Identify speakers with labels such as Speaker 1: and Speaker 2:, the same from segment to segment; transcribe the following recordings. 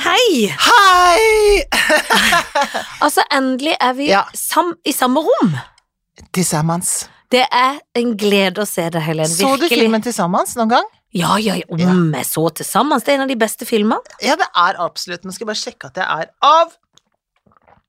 Speaker 1: Hei!
Speaker 2: Hei!
Speaker 1: Altså, endelig er vi
Speaker 2: Ja.
Speaker 1: sam i samme rom.
Speaker 2: Tilsammens.
Speaker 1: Det er en glede å se deg, Helen.
Speaker 2: Så du
Speaker 1: Virkelig.
Speaker 2: filmen Tilsammens noen gang?
Speaker 1: Ja, ja, ja. Om jeg så til sammen. Det er en av de beste filmene.
Speaker 2: Ja, det er absolutt. Nå skal jeg bare sjekke at jeg er av.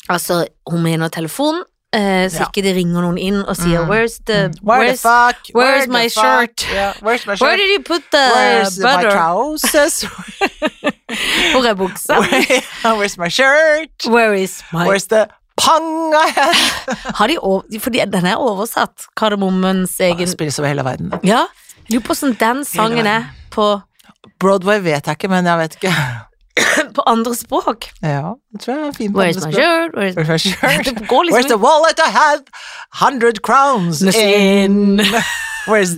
Speaker 1: Altså, hun mener telefonen, eh, så
Speaker 2: Ja.
Speaker 1: ikke det ringer noen inn og sier
Speaker 2: Mm.
Speaker 1: Where's the
Speaker 2: Where the
Speaker 1: where's,
Speaker 2: fuck?
Speaker 1: where's
Speaker 2: the
Speaker 1: my
Speaker 2: fuck?
Speaker 1: shirt?
Speaker 2: Yeah, where's my
Speaker 1: Where
Speaker 2: shirt?
Speaker 1: did you put the
Speaker 2: Where's my
Speaker 1: butter?
Speaker 2: trousers?
Speaker 1: Hvor er buksa?
Speaker 2: Where- Where's my shirt?
Speaker 1: Where is Oh my
Speaker 2: Where's the pang I had?
Speaker 1: Har de over... Fordi den er oversatt, Kardemommens
Speaker 2: Det
Speaker 1: egen
Speaker 2: spilles over hele verden.
Speaker 1: Ja. Jeg Lurer på hvordan den sangen
Speaker 2: verden.
Speaker 1: er på,
Speaker 2: Broadway vet jeg ikke, men jeg vet ikke.
Speaker 1: på andre språk.
Speaker 2: Ja, det tror jeg er fint. på
Speaker 1: Where's
Speaker 2: andre
Speaker 1: my
Speaker 2: språk.
Speaker 1: shirt? Where's
Speaker 2: Where's my shirt?
Speaker 1: Det går liksom
Speaker 2: Where's the wallet I had? Hundred crowns in. Where's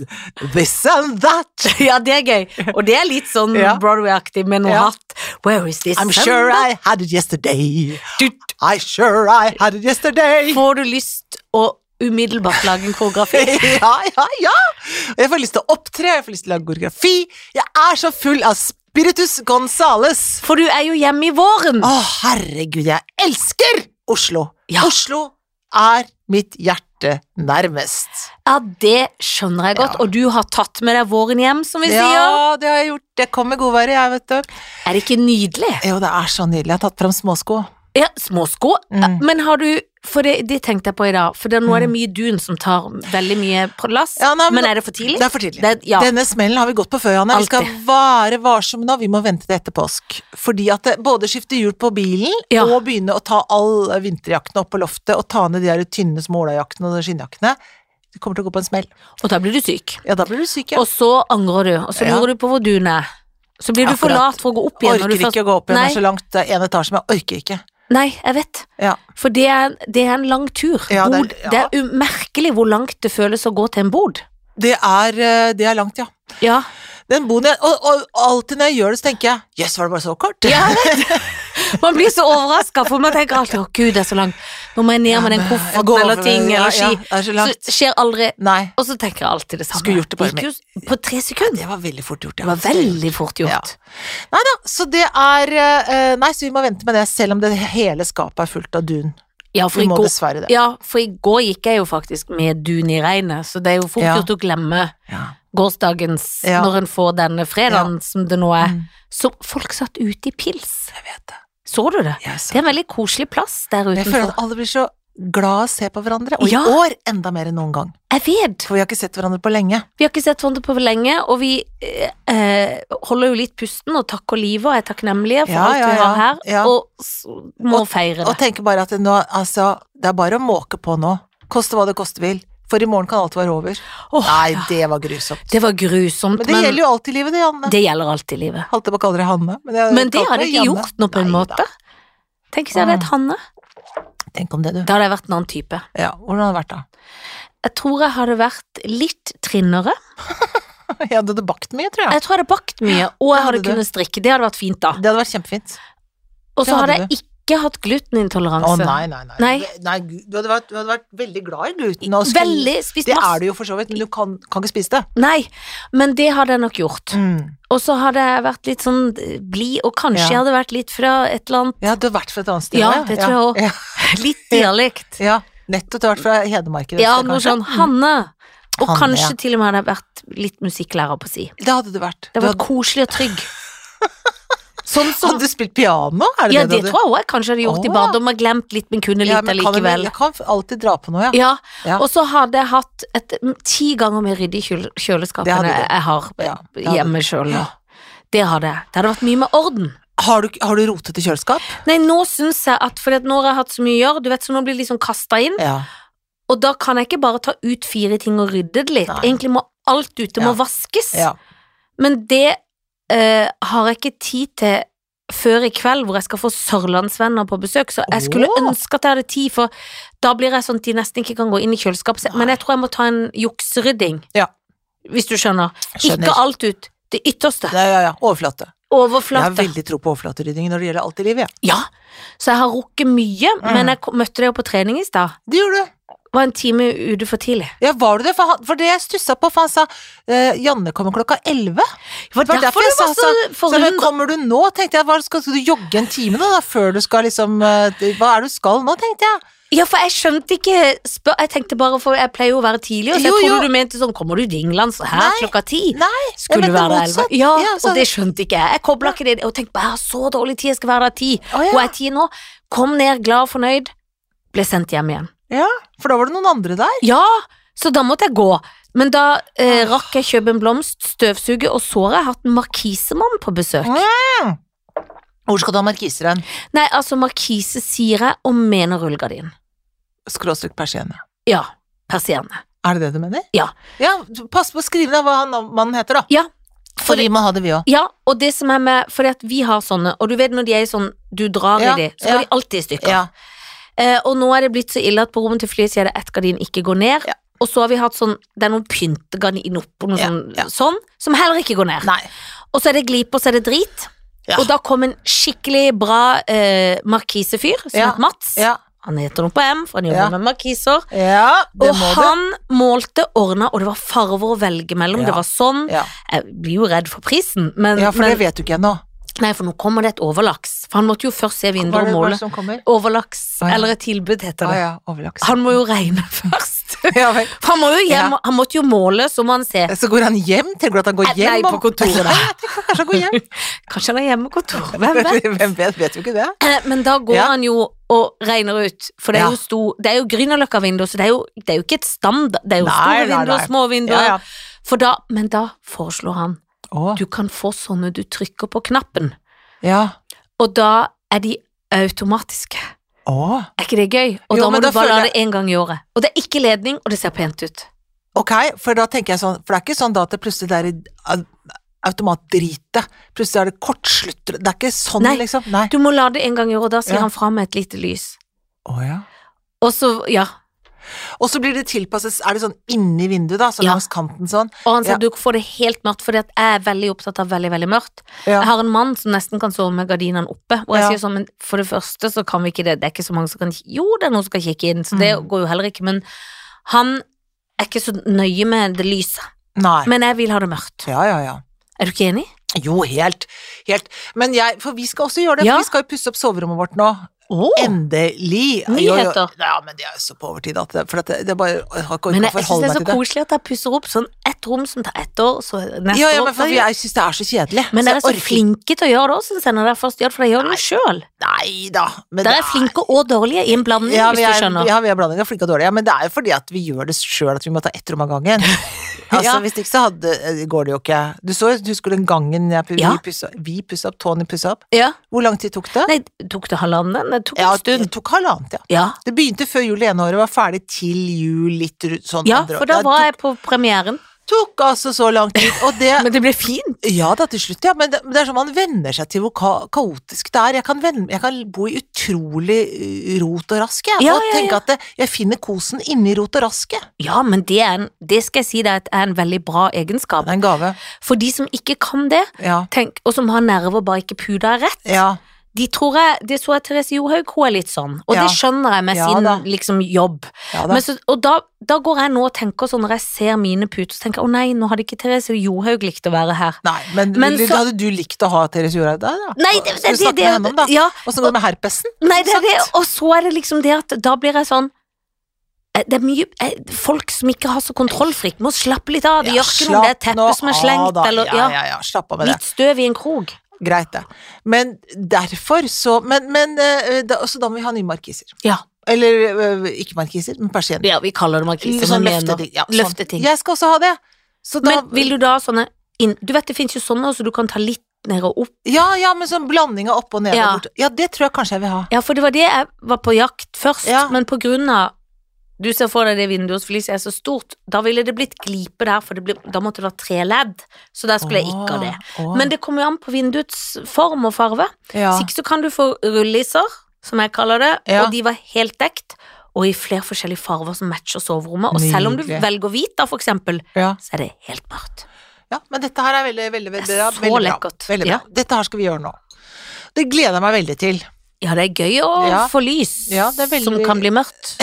Speaker 2: this and that?
Speaker 1: Ja, det er gøy. Og det er litt sånn
Speaker 2: Ja.
Speaker 1: Broadway-aktig med noe
Speaker 2: Ja.
Speaker 1: hatt. Where is this?
Speaker 2: I'm
Speaker 1: sun?
Speaker 2: sure I had it yesterday.
Speaker 1: Du,
Speaker 2: I sure I had it yesterday.
Speaker 1: får du lyst å umiddelbart lage en koreografi?
Speaker 2: Ja, ja, ja. Og Jeg får lyst til å opptre, jeg får lyst til å lage koreografi. Jeg er så full av Spiritus Gonzales.
Speaker 1: For du er jo hjemme i våren.
Speaker 2: Å, herregud, jeg elsker Oslo.
Speaker 1: Mm. Ja.
Speaker 2: Oslo er mitt hjerte nærmest.
Speaker 1: Ja, det skjønner jeg godt.
Speaker 2: Ja.
Speaker 1: Og du har tatt med deg våren hjem, som vi sier.
Speaker 2: Ja, det har jeg gjort. Det kom med godværet, jeg, vet du.
Speaker 1: Er det ikke nydelig?
Speaker 2: Jo, det er så nydelig. Jeg har tatt fram småsko.
Speaker 1: Ja, småsko.
Speaker 2: Mm.
Speaker 1: Men har du For det, det tenkte jeg på i dag, for det, nå er det mye dun som tar veldig mye plass.
Speaker 2: Ja, nei, men
Speaker 1: men
Speaker 2: da-
Speaker 1: er det for tidlig?
Speaker 2: Det er for tidlig.
Speaker 1: Det- ja.
Speaker 2: Denne smellen har vi gått på før, Janne. Vi skal være varsomme nå. Vi må vente til etter påsk. Fordi at det, både skifte hjul på bilen
Speaker 1: Ja.
Speaker 2: og begynne å ta all vinterjaktene opp på loftet og ta ned de der tynne små olajakkene og skinnjakkene. Du kommer til å gå på en smell.
Speaker 1: Og da blir du syk.
Speaker 2: Ja, da blir du syk, ja.
Speaker 1: Og så angrer du, og så
Speaker 2: Ja.
Speaker 1: lurer du på hvor dun er. Så blir
Speaker 2: Ja,
Speaker 1: du for
Speaker 2: for at-
Speaker 1: lat for å gå opp igjen. når
Speaker 2: orker
Speaker 1: du først-
Speaker 2: ikke å gå opp igjen. Det er
Speaker 1: Nei.
Speaker 2: så langt. Det er en etasje, men jeg orker ikke.
Speaker 1: Nei, jeg vet.
Speaker 2: Ja.
Speaker 1: For det er, det er en lang tur.
Speaker 2: Ja, det er-
Speaker 1: bod, det, er,
Speaker 2: ja.
Speaker 1: umerkelig hvor langt det føles å gå til en bod.
Speaker 2: Det er, eh, det er langt, ja.
Speaker 1: Ja.
Speaker 2: Den boden jeg, og, og alltid når jeg gjør det, så tenker jeg jøss, var det bare så kort?
Speaker 1: Ja, jeg vet. Man blir så overraska, for man tenker alltid å gud, det er så langt. Nå må jeg ned med den
Speaker 2: Jeg går
Speaker 1: kofferten eller
Speaker 2: over-
Speaker 1: ting
Speaker 2: ja,
Speaker 1: eller
Speaker 2: ja,
Speaker 1: ski.
Speaker 2: det er så langt.
Speaker 1: Så skjer aldri
Speaker 2: Nei.
Speaker 1: Og så tenker jeg alltid det samme.
Speaker 2: Skulle gjort det bare
Speaker 1: gikk jo på tre sekunder.
Speaker 2: Det var veldig fort gjort,
Speaker 1: Det var veldig fort gjort.
Speaker 2: Nei da, så det er eh, Nei, så vi må vente med det, selv om det hele skapet er fullt av dun.
Speaker 1: Ja, for
Speaker 2: Vi
Speaker 1: i
Speaker 2: må
Speaker 1: går,
Speaker 2: dessverre det.
Speaker 1: ja, for i går gikk jeg jo faktisk med dun i regnet, så det er jo fort
Speaker 2: Ja.
Speaker 1: gjort å glemme
Speaker 2: Ja.
Speaker 1: gårsdagens
Speaker 2: Ja.
Speaker 1: når en får denne fredagen som det nå er.
Speaker 2: Mm.
Speaker 1: Så folk satt ute i pils.
Speaker 2: Jeg vet det.
Speaker 1: Så du det?
Speaker 2: Jeg,
Speaker 1: Det er en veldig koselig plass der
Speaker 2: jeg føler
Speaker 1: utenfor.
Speaker 2: at alle blir så glad å se på hverandre, og
Speaker 1: Ja.
Speaker 2: i år enda mer enn noen gang.
Speaker 1: Jeg vet!
Speaker 2: For vi har ikke sett hverandre på lenge.
Speaker 1: Vi har ikke sett hverandre på lenge, og vi eh, eh, holder jo litt pusten og takker livet og er takknemlige for
Speaker 2: Ja,
Speaker 1: alt
Speaker 2: ja,
Speaker 1: vi har her,
Speaker 2: ja, ja.
Speaker 1: og s- må feire
Speaker 2: Og
Speaker 1: det.
Speaker 2: tenker bare at det nå, altså, det er bare å måke på nå. Koste hva det koste vil. For i morgen kan alt være over.
Speaker 1: Åh,
Speaker 2: Nei,
Speaker 1: ja.
Speaker 2: det var grusomt.
Speaker 1: det var grusomt,
Speaker 2: Men det gjelder jo Øh, alltid i livet, det, Janne.
Speaker 1: Det gjelder alltid i livet.
Speaker 2: Holdt jeg på å kalle deg Hanne. Men, jeg
Speaker 1: Men det
Speaker 2: kalte
Speaker 1: har jeg
Speaker 2: deg
Speaker 1: ikke
Speaker 2: Janne.
Speaker 1: gjort nå, på en
Speaker 2: Nei da.
Speaker 1: måte. Tenk hvis jeg hadde hett Hanne.
Speaker 2: Tenk om det, du.
Speaker 1: Da hadde jeg vært en annen type.
Speaker 2: Ja, hvordan har det vært da?
Speaker 1: Jeg tror jeg hadde vært litt trinnere.
Speaker 2: Jeg hadde bakt mye, tror jeg.
Speaker 1: Jeg tror jeg hadde bakt mye, og jeg
Speaker 2: hadde
Speaker 1: hadde
Speaker 2: du.
Speaker 1: kunnet strikke. Det hadde vært fint, da.
Speaker 2: Det hadde vært kjempefint.
Speaker 1: Og
Speaker 2: det
Speaker 1: så hadde
Speaker 2: hadde
Speaker 1: jeg ikke hatt
Speaker 2: Å
Speaker 1: glutenintoleranse.
Speaker 2: nei, nei, nei.
Speaker 1: Nei.
Speaker 2: Det- nei Gud, du, hadde vært, du hadde vært veldig glad i gluten. Og skulle-
Speaker 1: Veldig spist
Speaker 2: det er
Speaker 1: masse
Speaker 2: du jo for så vidt, men du kan, kan ikke spise det.
Speaker 1: Nei, men det hadde jeg nok
Speaker 2: Mm.
Speaker 1: gjort. Og så hadde jeg vært litt sånn eh, blid, og kanskje
Speaker 2: Ja.
Speaker 1: jeg hadde vært litt fra et eller annet
Speaker 2: Ja, du har vært fra et annet sted.
Speaker 1: Ja, det tror
Speaker 2: jeg òg.
Speaker 1: Litt dialekt.
Speaker 2: Ja, ja. Nettopp, du har vært fra Hedmarken.
Speaker 1: Ja, noe sånn Hanne. Og
Speaker 2: Hanne,
Speaker 1: kanskje
Speaker 2: ja.
Speaker 1: til og med hadde jeg vært litt musikklærer på si.
Speaker 2: Det hadde du vært.
Speaker 1: Det
Speaker 2: du
Speaker 1: var
Speaker 2: hadde,
Speaker 1: koselig og trygg. Sånn som
Speaker 2: hadde du spilt piano? Er det
Speaker 1: Ja, det
Speaker 2: det du
Speaker 1: tror jeg også jeg kanskje hadde gjort i
Speaker 2: Å, ja.
Speaker 1: baderommet. Glemt litt, men kunne
Speaker 2: Ja,
Speaker 1: litt
Speaker 2: men kan du-
Speaker 1: allikevel.
Speaker 2: Jeg kan alltid dra på noe, ja.
Speaker 1: Ja,
Speaker 2: Ja.
Speaker 1: og så hadde jeg hatt et mm, ti ganger mer ryddig kjøle- kjøleskap
Speaker 2: Det
Speaker 1: enn
Speaker 2: hadde
Speaker 1: jeg
Speaker 2: du.
Speaker 1: jeg har
Speaker 2: Ja, det hadde
Speaker 1: hjemme sjøl nå. Det hadde jeg. Det hadde vært mye med orden.
Speaker 2: Har, du, har du rotete kjøleskap?
Speaker 1: Nei, nå syns jeg at fordi at nå har jeg hatt så mye å gjøre, du vet, så nå blir det liksom kasta inn,
Speaker 2: Ja.
Speaker 1: og da kan jeg ikke bare ta ut fire ting og rydde det litt.
Speaker 2: Nei.
Speaker 1: Egentlig må alt ute
Speaker 2: Ja.
Speaker 1: må vaskes.
Speaker 2: ja.
Speaker 1: Men det eh, har jeg ikke tid til før i kveld, hvor jeg skal få sørlandsvenner på besøk. Så jeg skulle
Speaker 2: Åh.
Speaker 1: ønske at jeg hadde tid, for da blir jeg sånn at de nesten ikke kan gå inn i kjøleskapet. Men jeg tror jeg må ta en jukserydding,
Speaker 2: Ja.
Speaker 1: hvis du skjønner.
Speaker 2: Skjønner.
Speaker 1: Ikke alt ut. Det ytterste.
Speaker 2: ja, ja, ja. Overflate. Jeg har
Speaker 1: Overflate.
Speaker 2: veldig tro på overflaterydding når det gjelder alt i livet, jeg.
Speaker 1: Ja. Så jeg har rukket mye,
Speaker 2: Mm.
Speaker 1: men jeg ko- møtte deg jo på trening i stad.
Speaker 2: Det gjør du.
Speaker 1: var en time ute for tidlig.
Speaker 2: Ja, var du det? For, han, for det jeg stussa på, for han sa eh, 'Janne kommer klokka 11'.
Speaker 1: Det var derfor du var så
Speaker 2: Så men
Speaker 1: forundret.
Speaker 2: kommer du nå, tenkte jeg. Hva, skal, skal du jogge en time nå, da, før du skal liksom eh, Hva er det du skal nå, tenkte jeg.
Speaker 1: Ja, for jeg skjønte ikke spør, Jeg tenkte bare, for jeg pleier jo å være tidlig, og så
Speaker 2: Jo,
Speaker 1: jeg
Speaker 2: jo.
Speaker 1: trodde du mente sånn Kommer du dinglende her
Speaker 2: Nei.
Speaker 1: klokka ti?
Speaker 2: Nei,
Speaker 1: Skulle
Speaker 2: mente
Speaker 1: være der elleve.
Speaker 2: motsatt.
Speaker 1: Ja,
Speaker 2: Ja, så-
Speaker 1: og det skjønte ikke jeg. Jeg kobla ikke det. Og tenkte bare, jeg har så dårlig tid, jeg skal være der ti.
Speaker 2: Å, ja.
Speaker 1: Og jeg er ti nå. Kom ned, glad og fornøyd. Ble sendt hjem igjen.
Speaker 2: ja, for da var det noen andre der.
Speaker 1: Ja, så da måtte jeg gå. Men da eh, rakk jeg kjøpe en blomst, støvsuge, og så har jeg hatt en markisemann på besøk.
Speaker 2: Hvor skal du ha markiser hen?
Speaker 1: Nei, altså markise sier jeg og mener rullegardin.
Speaker 2: Skråstrek persienne.
Speaker 1: Ja, persienne.
Speaker 2: Er det det du mener?
Speaker 1: Ja.
Speaker 2: ja du- pass på å skrive ned hva han mannen heter, da.
Speaker 1: Ja.
Speaker 2: For vi må ha det, vi òg.
Speaker 1: Ja, og det som er med, fordi at vi har sånne, og du vet når de er i sånn, du drar
Speaker 2: Ja,
Speaker 1: i de, så går
Speaker 2: ja.
Speaker 1: de alltid i stykker.
Speaker 2: Ja.
Speaker 1: Eh, og nå er det blitt så ille at på rommet til flyet sier det ett gardin ikke går ned,
Speaker 2: Ja.
Speaker 1: og så har vi hatt sånn, det er noen pyntegardin oppå, noe
Speaker 2: Ja,
Speaker 1: sånn,
Speaker 2: ja.
Speaker 1: sånn, som heller ikke går ned.
Speaker 2: Nei.
Speaker 1: Og så er det glip, og så er det drit.
Speaker 2: Ja.
Speaker 1: Og da kom en skikkelig bra eh, markisefyr, som
Speaker 2: Ja,
Speaker 1: het Mats.
Speaker 2: Ja.
Speaker 1: Han heter noe på M, for han jobber
Speaker 2: Ja.
Speaker 1: med markiser.
Speaker 2: ja det
Speaker 1: Og
Speaker 2: må
Speaker 1: han målte, ordna, og det var farver å velge mellom.
Speaker 2: Ja.
Speaker 1: Det var sånn.
Speaker 2: du. Ja.
Speaker 1: Jeg blir jo redd for prisen, men,
Speaker 2: ja, for
Speaker 1: men
Speaker 2: det vet du ikke ennå.
Speaker 1: Nei, for nå kommer det et overlaks. For han måtte jo først se
Speaker 2: Hva er
Speaker 1: vinduet og
Speaker 2: det- hva er det
Speaker 1: måle.
Speaker 2: som kommer?
Speaker 1: Overlaks,
Speaker 2: Å, ja.
Speaker 1: eller et tilbud, heter
Speaker 2: Ah,
Speaker 1: det.
Speaker 2: ja, overlaks.
Speaker 1: Han må jo regne først.
Speaker 2: Ja, vel.
Speaker 1: For han, må jo hjem,
Speaker 2: Ja.
Speaker 1: han måtte jo måle, så må han se.
Speaker 2: Så går han hjem? Tenker du at han går hjem?
Speaker 1: Nei, på
Speaker 2: om-
Speaker 1: kontoret.
Speaker 2: Nei, jeg tenker kanskje han går hjem.
Speaker 1: Kanskje han har hjemmekontor, hvem vet?
Speaker 2: Hvem vet? Vet jo ikke det.
Speaker 1: Eh, Men da går
Speaker 2: Ja.
Speaker 1: han jo og regner ut, for det er
Speaker 2: Ja.
Speaker 1: jo, sto, det er jo Grünerløkka-vinduer, så det er, jo, det er jo ikke et standard Det er jo
Speaker 2: Nei,
Speaker 1: store
Speaker 2: nei,
Speaker 1: vinduer
Speaker 2: nei.
Speaker 1: og små vinduer.
Speaker 2: Ja, ja.
Speaker 1: For da, men da foreslår han
Speaker 2: Å,
Speaker 1: du kan få sånne du trykker på knappen,
Speaker 2: ja.
Speaker 1: og da er de automatiske.
Speaker 2: Å,
Speaker 1: Er ikke det gøy? Og
Speaker 2: Jo,
Speaker 1: da må
Speaker 2: men
Speaker 1: du
Speaker 2: da
Speaker 1: bare la
Speaker 2: føler
Speaker 1: det én gang i året. Og det er ikke ledning, og det ser pent ut.
Speaker 2: ok, for da tenker jeg sånn, for det er ikke sånn da at det plutselig det er i au- automatdritet, plutselig er det kortslutter, det er ikke sånn
Speaker 1: Nei.
Speaker 2: liksom, nei.
Speaker 1: Du må la det en gang i året, da sier
Speaker 2: Ja.
Speaker 1: han fra med et lite lys.
Speaker 2: Å, ja.
Speaker 1: Og så, ja.
Speaker 2: Og så blir det tilpasset, er det sånn inni vinduet da, sånn
Speaker 1: Ja.
Speaker 2: langs kanten sånn,
Speaker 1: Og han sier
Speaker 2: Ja.
Speaker 1: du får det helt mørkt, fordi at jeg er veldig opptatt av veldig, veldig mørkt. Jeg
Speaker 2: ja,
Speaker 1: har en mann som nesten kan sove med gardinene oppe, og jeg
Speaker 2: Ja.
Speaker 1: sier sånn, men for det første så kan vi ikke det, det er ikke så mange som kan Jo, det er noen som kan kikke inn, så det
Speaker 2: Mm.
Speaker 1: går jo heller ikke, men han er ikke så nøye med det lyset.
Speaker 2: nei,
Speaker 1: Men jeg vil ha det mørkt.
Speaker 2: ja, ja, ja.
Speaker 1: Er du ikke enig?
Speaker 2: Jo, helt, helt. Men jeg, for vi skal også gjøre det,
Speaker 1: Ja.
Speaker 2: for vi skal jo pusse opp soverommet vårt nå. Endelig. Jo, jo.
Speaker 1: Nyheter.
Speaker 2: Ja, men det er jo så på overtid at det, for at det, det er bare, jeg har ikke
Speaker 1: Men jeg,
Speaker 2: orket å
Speaker 1: jeg syns
Speaker 2: forholde
Speaker 1: det er
Speaker 2: meg
Speaker 1: så
Speaker 2: til det.
Speaker 1: koselig at jeg pusser opp sånn ett rom som tar ett år, så neste
Speaker 2: Ja, ja,
Speaker 1: år
Speaker 2: men for
Speaker 1: så-
Speaker 2: vi- jeg synes det er så kjedelig.
Speaker 1: Men
Speaker 2: Så
Speaker 1: dere er så
Speaker 2: jeg orker-
Speaker 1: flinke til å gjøre det òg, syns jeg, når dere først gjør det, for dere gjør det jo sjøl.
Speaker 2: Nei da. men
Speaker 1: Dere
Speaker 2: det
Speaker 1: er flinke og dårlige i en blanding,
Speaker 2: Ja, vi
Speaker 1: Mm, hvis du
Speaker 2: er,
Speaker 1: skjønner.
Speaker 2: ja, vi er blanding av flinke og dårlige, ja, men det er jo fordi at vi gjør det sjøl at vi må ta ett rom av gangen. Altså,
Speaker 1: Ja.
Speaker 2: Hvis ikke så hadde, eh, går det jo ikke. Du så, husker du den gangen jeg, pu-
Speaker 1: Ja.
Speaker 2: vi pussa vi pussa opp, Tony pussa opp?
Speaker 1: Ja.
Speaker 2: Hvor lang tid tok det?
Speaker 1: Nei, tok det halvannen? Det tok en
Speaker 2: ja,
Speaker 1: stund.
Speaker 2: det tok halvannet, ja.
Speaker 1: Ja.
Speaker 2: Det begynte før jul det ene året, var ferdig til jul litt rundt sånn
Speaker 1: ja,
Speaker 2: andre år.
Speaker 1: for da
Speaker 2: Det
Speaker 1: var
Speaker 2: tok-
Speaker 1: jeg på premieren.
Speaker 2: tok altså så lang tid, og det
Speaker 1: Men det ble fint.
Speaker 2: Ja da, til slutt, ja, men det, men det er sånn man venner seg til hvor ka kaotisk det er. Jeg kan, ven- jeg kan bo i utrolig eh, rot og rask, jeg,
Speaker 1: Ja,
Speaker 2: og
Speaker 1: ja,
Speaker 2: tenke at det, jeg finner kosen inni rot og raske.
Speaker 1: Ja, men det, er en, det skal jeg si deg at er en veldig bra egenskap.
Speaker 2: Det er en gave.
Speaker 1: For de som ikke kan det,
Speaker 2: Ja.
Speaker 1: tenk, og som har nerver og bare ikke puder rett,
Speaker 2: Ja.
Speaker 1: de tror jeg Det så jeg Therese Johaug, hun er litt sånn. Og
Speaker 2: Ja.
Speaker 1: det skjønner jeg med
Speaker 2: Ja,
Speaker 1: sin
Speaker 2: da.
Speaker 1: liksom jobb.
Speaker 2: ja da.
Speaker 1: Men så, og da, da går jeg nå og tenker sånn når jeg ser mine puter, så tenker jeg å nei, nå hadde ikke Therese Johaug likt å være her.
Speaker 2: Nei, men,
Speaker 1: Men
Speaker 2: ville-
Speaker 1: så-
Speaker 2: hadde du likt å ha Therese Jorhaug der, da?
Speaker 1: Nei, det, det,
Speaker 2: Skulle
Speaker 1: det,
Speaker 2: snakke
Speaker 1: det,
Speaker 2: med henne om, da.
Speaker 1: ja,
Speaker 2: Åssen går det med herpesen?
Speaker 1: nei, det, er det,
Speaker 2: Sagt.
Speaker 1: og så er det liksom det at da blir jeg sånn eh, det er mye eh, folk som ikke har så kontrollfrikt, må slappe litt av. Det gjør ikke noe om det er
Speaker 2: slapp nå
Speaker 1: teppet som er
Speaker 2: av,
Speaker 1: slengt,
Speaker 2: da.
Speaker 1: eller
Speaker 2: ja,
Speaker 1: ja,
Speaker 2: ja, ja, slapp av med det.
Speaker 1: litt støv i en krok.
Speaker 2: Greit, det. Men derfor så Men, men eh, da, så da må vi ha nye markiser.
Speaker 1: Ja.
Speaker 2: Eller eh, ikke markiser, men persienner.
Speaker 1: ja, vi kaller det markiser.
Speaker 2: Sånn
Speaker 1: men mener-
Speaker 2: løfteting. Ja, sånn.
Speaker 1: løfteting.
Speaker 2: Jeg skal også ha det. Så da,
Speaker 1: Men vil du da ha sånne inn... Du vet det finnes jo sånne også, du kan ta litt ned og opp.
Speaker 2: ja, ja, men sånn blanding av opp og ned
Speaker 1: Ja.
Speaker 2: og bort. Ja, det tror jeg kanskje jeg vil ha.
Speaker 1: Ja, for det var det jeg var på jakt først,
Speaker 2: Ja.
Speaker 1: men på grunn av Du ser for deg det vinduet hos Felicia er så stort, da ville det blitt glipe der, for det ble, da måtte det være tre ledd, så der skulle jeg ikke ha det. Men det kommer jo an på vinduets form og farve.
Speaker 2: ja.
Speaker 1: Hvis ikke så kan du få rulliser, som jeg kaller det,
Speaker 2: Ja.
Speaker 1: og de var helt dekt, og i flere forskjellige farver som matcher soverommet, og selv om du
Speaker 2: Nydelig.
Speaker 1: velger hvit da, for eksempel,
Speaker 2: ja.
Speaker 1: så er det helt mørkt.
Speaker 2: ja, men dette her er veldig, veldig, veldig
Speaker 1: Det er
Speaker 2: bra.
Speaker 1: så
Speaker 2: Veldig bra.
Speaker 1: lekkert.
Speaker 2: Veldig bra.
Speaker 1: Ja.
Speaker 2: Dette her skal vi gjøre nå. Det gleder jeg meg veldig til.
Speaker 1: Ja, det er gøy å
Speaker 2: Ja.
Speaker 1: få lys
Speaker 2: Ja, det er veldig-
Speaker 1: som kan bli mørkt.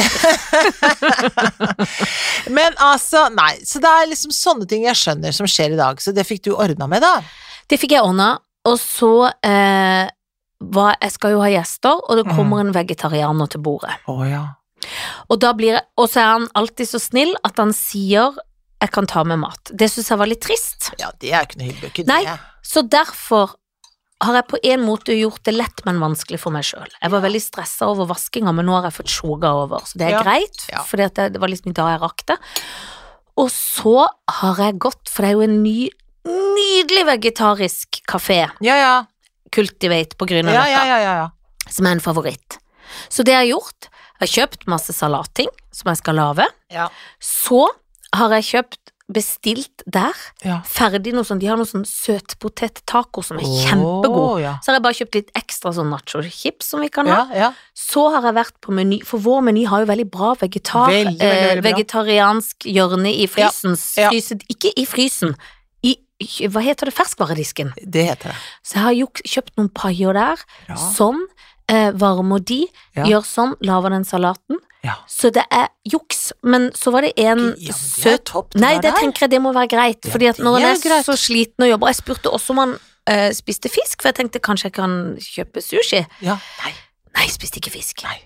Speaker 2: Men altså, nei. Så det er liksom sånne ting jeg skjønner som skjer i dag. Så det fikk du ordna med, da.
Speaker 1: Det fikk jeg ordna, og så eh, var, Jeg skal jo ha gjester, og det
Speaker 2: Mm.
Speaker 1: kommer en vegetarianer til bordet.
Speaker 2: Å ja.
Speaker 1: Og, da blir jeg, og så er han alltid så snill at han sier 'jeg kan ta med mat'. Det syns jeg var litt trist.
Speaker 2: Ja, det er jo ikke noe hyggelig. ikke
Speaker 1: Nei.
Speaker 2: det.
Speaker 1: Så derfor har jeg på en måte gjort det lett, men vanskelig for meg sjøl. Jeg var veldig stressa over vaskinga, men nå har jeg fått sjoga over, så det er
Speaker 2: Ja.
Speaker 1: greit.
Speaker 2: Ja.
Speaker 1: For det var liksom da jeg rakk det. Og så har jeg gått, for det er jo en ny, nydelig vegetarisk kafé,
Speaker 2: Ja, ja.
Speaker 1: Cultivate på
Speaker 2: Ja,
Speaker 1: Grünerløkka,
Speaker 2: ja, ja, ja, ja.
Speaker 1: som er en favoritt. Så det jeg har gjort, jeg har kjøpt masse salatting som jeg skal lage.
Speaker 2: Ja.
Speaker 1: Så har jeg kjøpt, bestilt der,
Speaker 2: ja.
Speaker 1: ferdig noe sånn, de har noe sånn søtpotet-taco som er kjempegod.
Speaker 2: Å, ja.
Speaker 1: Så har jeg bare kjøpt litt ekstra sånn nacho-chips som vi kan ha.
Speaker 2: Ja, ja.
Speaker 1: Så har jeg vært på meny, for vår meny har jo veldig bra vegetar,
Speaker 2: Veldig, veldig, veldig
Speaker 1: eh,
Speaker 2: bra.
Speaker 1: vegetariansk hjørne i frysen,
Speaker 2: Ja, ja.
Speaker 1: fryset, ikke i frysen, i, hva heter det, ferskvaredisken.
Speaker 2: Det heter det.
Speaker 1: Så jeg har jo kjøpt noen paier der,
Speaker 2: Bra.
Speaker 1: sånn, eh, varmer de,
Speaker 2: Ja.
Speaker 1: gjør sånn, laver den salaten.
Speaker 2: Ja.
Speaker 1: Så det er juks, men så var det en
Speaker 2: Ja, men det er
Speaker 1: søt
Speaker 2: topp,
Speaker 1: Nei,
Speaker 2: der
Speaker 1: det
Speaker 2: der.
Speaker 1: tenker jeg det må være greit,
Speaker 2: Ja,
Speaker 1: fordi at
Speaker 2: det
Speaker 1: når en
Speaker 2: er
Speaker 1: er
Speaker 2: jo greit.
Speaker 1: så sliten og jobber Jeg spurte også om han eh, spiste fisk, for jeg tenkte kanskje jeg kan kjøpe sushi.
Speaker 2: Ja. Nei.
Speaker 1: Nei, jeg spiste ikke fisk.
Speaker 2: Nei.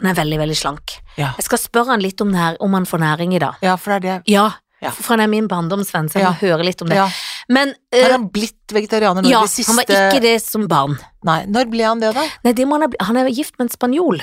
Speaker 1: Han er veldig, veldig slank.
Speaker 2: Ja.
Speaker 1: Jeg skal spørre han litt om, nær, om han får næring i dag.
Speaker 2: ja, for det er det.
Speaker 1: Ja,
Speaker 2: Ja.
Speaker 1: for han er min barndomsvenn, så jeg må høre litt om det.
Speaker 2: Ja.
Speaker 1: Men eh,
Speaker 2: Har han blitt vegetarianer nå i
Speaker 1: ja,
Speaker 2: det siste
Speaker 1: han var ikke det som barn.
Speaker 2: Nei, når ble han det, da?
Speaker 1: Nei, det må han, ha bli- han er gift med en spanjol.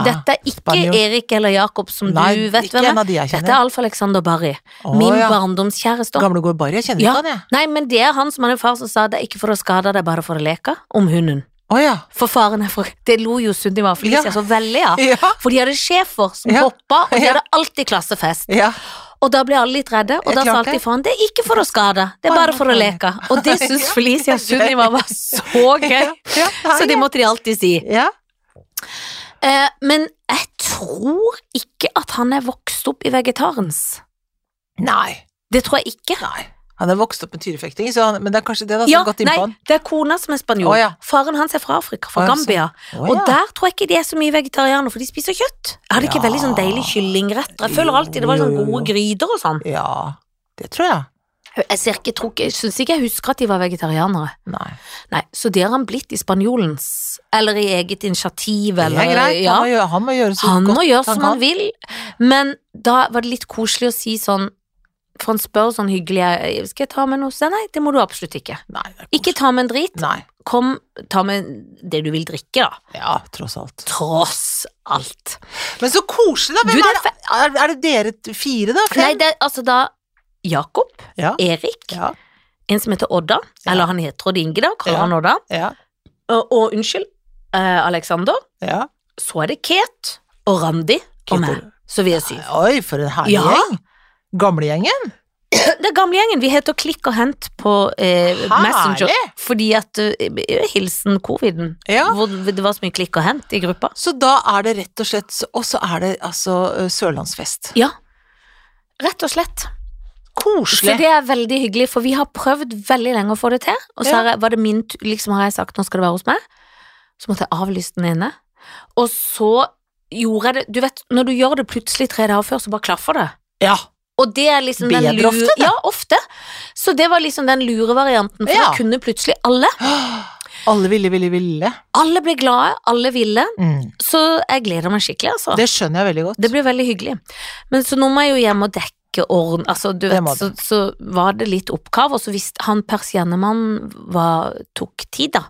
Speaker 2: Ah,
Speaker 1: Dette er ikke
Speaker 2: spanjol.
Speaker 1: Erik eller Jakob, som
Speaker 2: Ah. Nei,
Speaker 1: du vet
Speaker 2: ikke
Speaker 1: hvem
Speaker 2: en
Speaker 1: er.
Speaker 2: av de jeg
Speaker 1: Dette er
Speaker 2: kjenner.
Speaker 1: Alf Alexander Barry.
Speaker 2: Å,
Speaker 1: Min
Speaker 2: ja.
Speaker 1: barndomskjæreste.
Speaker 2: Gamle går bare, jeg kjenner
Speaker 1: Ja.
Speaker 2: ikke han, jeg.
Speaker 1: Nei, men det er han som hadde en far som sa det er ikke for å skade deg, bare for å leke, om hunden.
Speaker 2: Å ja.
Speaker 1: For faren er for Det lo jo Sunniva og Felicia
Speaker 2: Ja.
Speaker 1: så veldig av.
Speaker 2: Ja.
Speaker 1: For de hadde sjefer som
Speaker 2: Ja.
Speaker 1: hoppa, og de
Speaker 2: Ja.
Speaker 1: hadde alltid klassefest.
Speaker 2: ja.
Speaker 1: Og da ble alle litt redde, og
Speaker 2: Jeg
Speaker 1: da sa
Speaker 2: klarte
Speaker 1: alltid
Speaker 2: det.
Speaker 1: faren det er ikke for å skade, det er
Speaker 2: Bare
Speaker 1: bare for å
Speaker 2: for å
Speaker 1: leke. Og det syns
Speaker 2: Ja.
Speaker 1: Felicia og Sunniva var så gøy,
Speaker 2: Ja,
Speaker 1: så det
Speaker 2: ja.
Speaker 1: måtte de alltid si.
Speaker 2: ja.
Speaker 1: Eh, Men jeg tror ikke at han er vokst opp i vegetarens.
Speaker 2: Nei.
Speaker 1: Det tror jeg ikke.
Speaker 2: Nei. Han er vokst opp med tyrefekting, så han, men det er kanskje det da som
Speaker 1: Ja,
Speaker 2: har gått inn
Speaker 1: nei,
Speaker 2: på han.
Speaker 1: det er kona som er spanjol.
Speaker 2: Å, ja.
Speaker 1: Faren hans er fra Afrika, fra
Speaker 2: Å, ja, så-
Speaker 1: Gambia.
Speaker 2: Å,
Speaker 1: Og
Speaker 2: ja.
Speaker 1: der tror jeg ikke de er så mye vegetarianere, for de spiser kjøtt. Jeg hadde ikke
Speaker 2: Ja.
Speaker 1: veldig sånn deilig kyllingretter. Jeg føler alltid det var
Speaker 2: Jo,
Speaker 1: sånn
Speaker 2: jo, jo.
Speaker 1: gode gryter og sånn.
Speaker 2: ja, det tror jeg.
Speaker 1: Jeg ser ikke, tror ikke- jeg syns ikke jeg husker at de var vegetarianere.
Speaker 2: Nei.
Speaker 1: Nei, så det har han blitt i spanjolens. Eller i eget initiativ,
Speaker 2: Det er
Speaker 1: eller
Speaker 2: greit,
Speaker 1: ja.
Speaker 2: han, må gjøre, han må gjøre så
Speaker 1: Han
Speaker 2: godt
Speaker 1: må gjøre som
Speaker 2: han
Speaker 1: han vil. Men da var det litt koselig å si sånn For han spør sånn hyggelig «Jeg- Skal jeg ta med noe? Så jeg, nei, det må du absolutt ikke.
Speaker 2: Nei, det er
Speaker 1: Ikke
Speaker 2: koselig.
Speaker 1: ta med en drit.
Speaker 2: Nei.
Speaker 1: Kom, ta med det du vil drikke, da.
Speaker 2: Ja, tross alt.
Speaker 1: Tross alt.
Speaker 2: Men så koselig, da.
Speaker 1: Du,
Speaker 2: Hvem
Speaker 1: det
Speaker 2: er, det, er, er det dere fire, da? Fem?
Speaker 1: Nei, det er altså da Jakob,
Speaker 2: Ja.
Speaker 1: Erik,
Speaker 2: Ja,
Speaker 1: en som heter Odda,
Speaker 2: Ja.
Speaker 1: eller han heter Odd Inge, da, kaller
Speaker 2: Ja.
Speaker 1: han Odda.
Speaker 2: ja,
Speaker 1: Og, og unnskyld, eh, Alexander.
Speaker 2: ja.
Speaker 1: Så er det Ket og Randi og meg,
Speaker 2: Ketil.
Speaker 1: så vi er syv.
Speaker 2: Oi, for en herlig
Speaker 1: Ja.
Speaker 2: gjeng. Gamlegjengen.
Speaker 1: Det er gamlegjengen. Vi heter Klikk og Hent på eh,
Speaker 2: Herlig.
Speaker 1: Messenger fordi at eh, Hilsen coviden.
Speaker 2: Ja.
Speaker 1: Hvor det var så mye klikk og hent i gruppa.
Speaker 2: Så da er det rett og slett Og så er det altså eh, sørlandsfest.
Speaker 1: Ja. Rett og slett. Så
Speaker 2: Koselig.
Speaker 1: det er veldig hyggelig, for vi har prøvd veldig lenge å få det til. Og så
Speaker 2: Ja.
Speaker 1: har jeg- var det min tur, liksom har jeg sagt nå skal det være hos meg. Så måtte jeg avlyse den ene. Og så gjorde jeg det Du vet, når du gjør det plutselig tre dager før, så bare klaffer det.
Speaker 2: Ja.
Speaker 1: Og det er liksom den
Speaker 2: Bedre
Speaker 1: lure
Speaker 2: ofte, det.
Speaker 1: Ja, ofte. Så det var liksom den lure varianten, for
Speaker 2: Ja.
Speaker 1: da kunne plutselig alle.
Speaker 2: Alle ville, ville, ville.
Speaker 1: Alle ble glade, alle ville.
Speaker 2: Mm.
Speaker 1: Så jeg gleder meg skikkelig, altså.
Speaker 2: Det skjønner jeg veldig godt.
Speaker 1: Det blir veldig hyggelig. Men så nå må jeg jo hjem og dekke orden altså, du
Speaker 2: Det
Speaker 1: vet,
Speaker 2: må
Speaker 1: så, så var det litt oppgave, og så hvis han persiennemannen var- tok tid, da.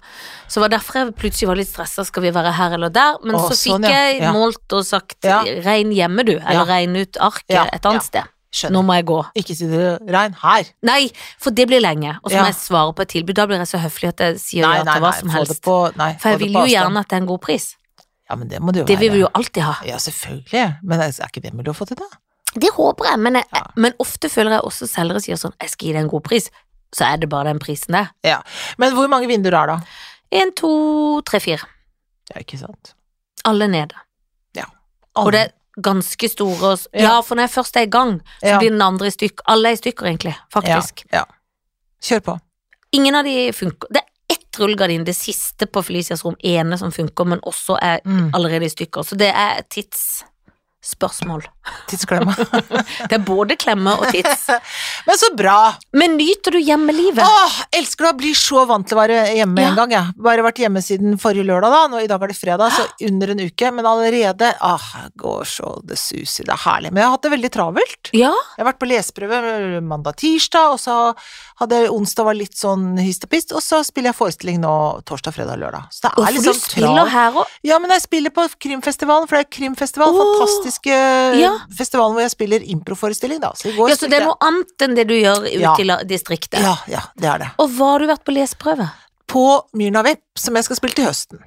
Speaker 1: Så var derfor jeg plutselig var litt stressa, skal vi være her eller der? Men
Speaker 2: Å,
Speaker 1: så fikk
Speaker 2: sånn, ja.
Speaker 1: jeg
Speaker 2: Ja.
Speaker 1: målt og sagt
Speaker 2: Ja.
Speaker 1: regn hjemme, du, eller
Speaker 2: Ja.
Speaker 1: regn ut arket
Speaker 2: Ja,
Speaker 1: et
Speaker 2: ja.
Speaker 1: annet sted. Nå
Speaker 2: Skjønner.
Speaker 1: må jeg gå.
Speaker 2: Ikke si det, Rein. Her.
Speaker 1: Nei, for det blir lenge, og så
Speaker 2: Ja.
Speaker 1: må jeg svare på et tilbud. Da blir jeg så høflig at jeg sier
Speaker 2: Nei,
Speaker 1: ja
Speaker 2: nei,
Speaker 1: til
Speaker 2: nei.
Speaker 1: hva som
Speaker 2: Få det
Speaker 1: helst.
Speaker 2: på, nei,
Speaker 1: For jeg
Speaker 2: få
Speaker 1: vil
Speaker 2: det på
Speaker 1: jo
Speaker 2: avstand.
Speaker 1: gjerne at det er en god pris.
Speaker 2: Ja, men det må det jo
Speaker 1: Det
Speaker 2: være.
Speaker 1: vil vi jo alltid ha.
Speaker 2: Ja, selvfølgelig. Men altså, er er ikke det mulig å få til, da?
Speaker 1: Det håper jeg, men, jeg,
Speaker 2: Ja.
Speaker 1: men ofte føler jeg også selgere sier sånn Jeg skal gi deg en god pris, så er det bare den prisen der.
Speaker 2: Men hvor mange vinduer er da?
Speaker 1: En, to, tre, fire.
Speaker 2: Ja, ikke sant.
Speaker 1: Alle nede. Og
Speaker 2: Alle.
Speaker 1: det er ganske store og s-
Speaker 2: Ja.
Speaker 1: Ja, for når jeg først er i gang, så
Speaker 2: Ja.
Speaker 1: blir den andre i stykk. Alle er i stykker, egentlig. Faktisk.
Speaker 2: Ja, ja. Kjør på.
Speaker 1: Ingen av de funker. Det er ett rullegardin, det siste på Felicias rom, ene som funker, men også er
Speaker 2: Mm.
Speaker 1: allerede i stykker. Så det er tidsstress. Spørsmål.
Speaker 2: Tidsklemma.
Speaker 1: Det er både klemmer og tids.
Speaker 2: Men så bra!
Speaker 1: Men nyter du hjemmelivet?
Speaker 2: Åh, elsker å bli så vant til å være hjemme
Speaker 1: Ja.
Speaker 2: en gang, jeg. Bare vært hjemme siden forrige lørdag, da. Nå, I dag er det fredag, så under en uke. Men allerede Åh, går så det suser. Det er herlig. Men jeg har hatt det veldig travelt.
Speaker 1: Ja.
Speaker 2: Jeg har vært på leseprøve mandag-tirsdag, og så hadde jeg onsdag var litt sånn hist og pist, og så spiller jeg forestilling nå torsdag, fredag, lørdag. Så det
Speaker 1: Og
Speaker 2: er
Speaker 1: for
Speaker 2: litt
Speaker 1: du
Speaker 2: sånn
Speaker 1: spiller
Speaker 2: travelt.
Speaker 1: her òg.
Speaker 2: Ja, men jeg spiller på Krimfestivalen, for det er krimfestival.
Speaker 1: Åh.
Speaker 2: Fantastiske
Speaker 1: Ja.
Speaker 2: festivalen hvor jeg spiller improforestilling, da. Så i går
Speaker 1: Ja, så det er noe annet enn det du gjør ute
Speaker 2: Ja.
Speaker 1: i la- distriktet.
Speaker 2: Ja, ja, det er det.
Speaker 1: Og hva har du vært på leseprøve?
Speaker 2: På Myrna Vepp, som jeg skal spille til høsten.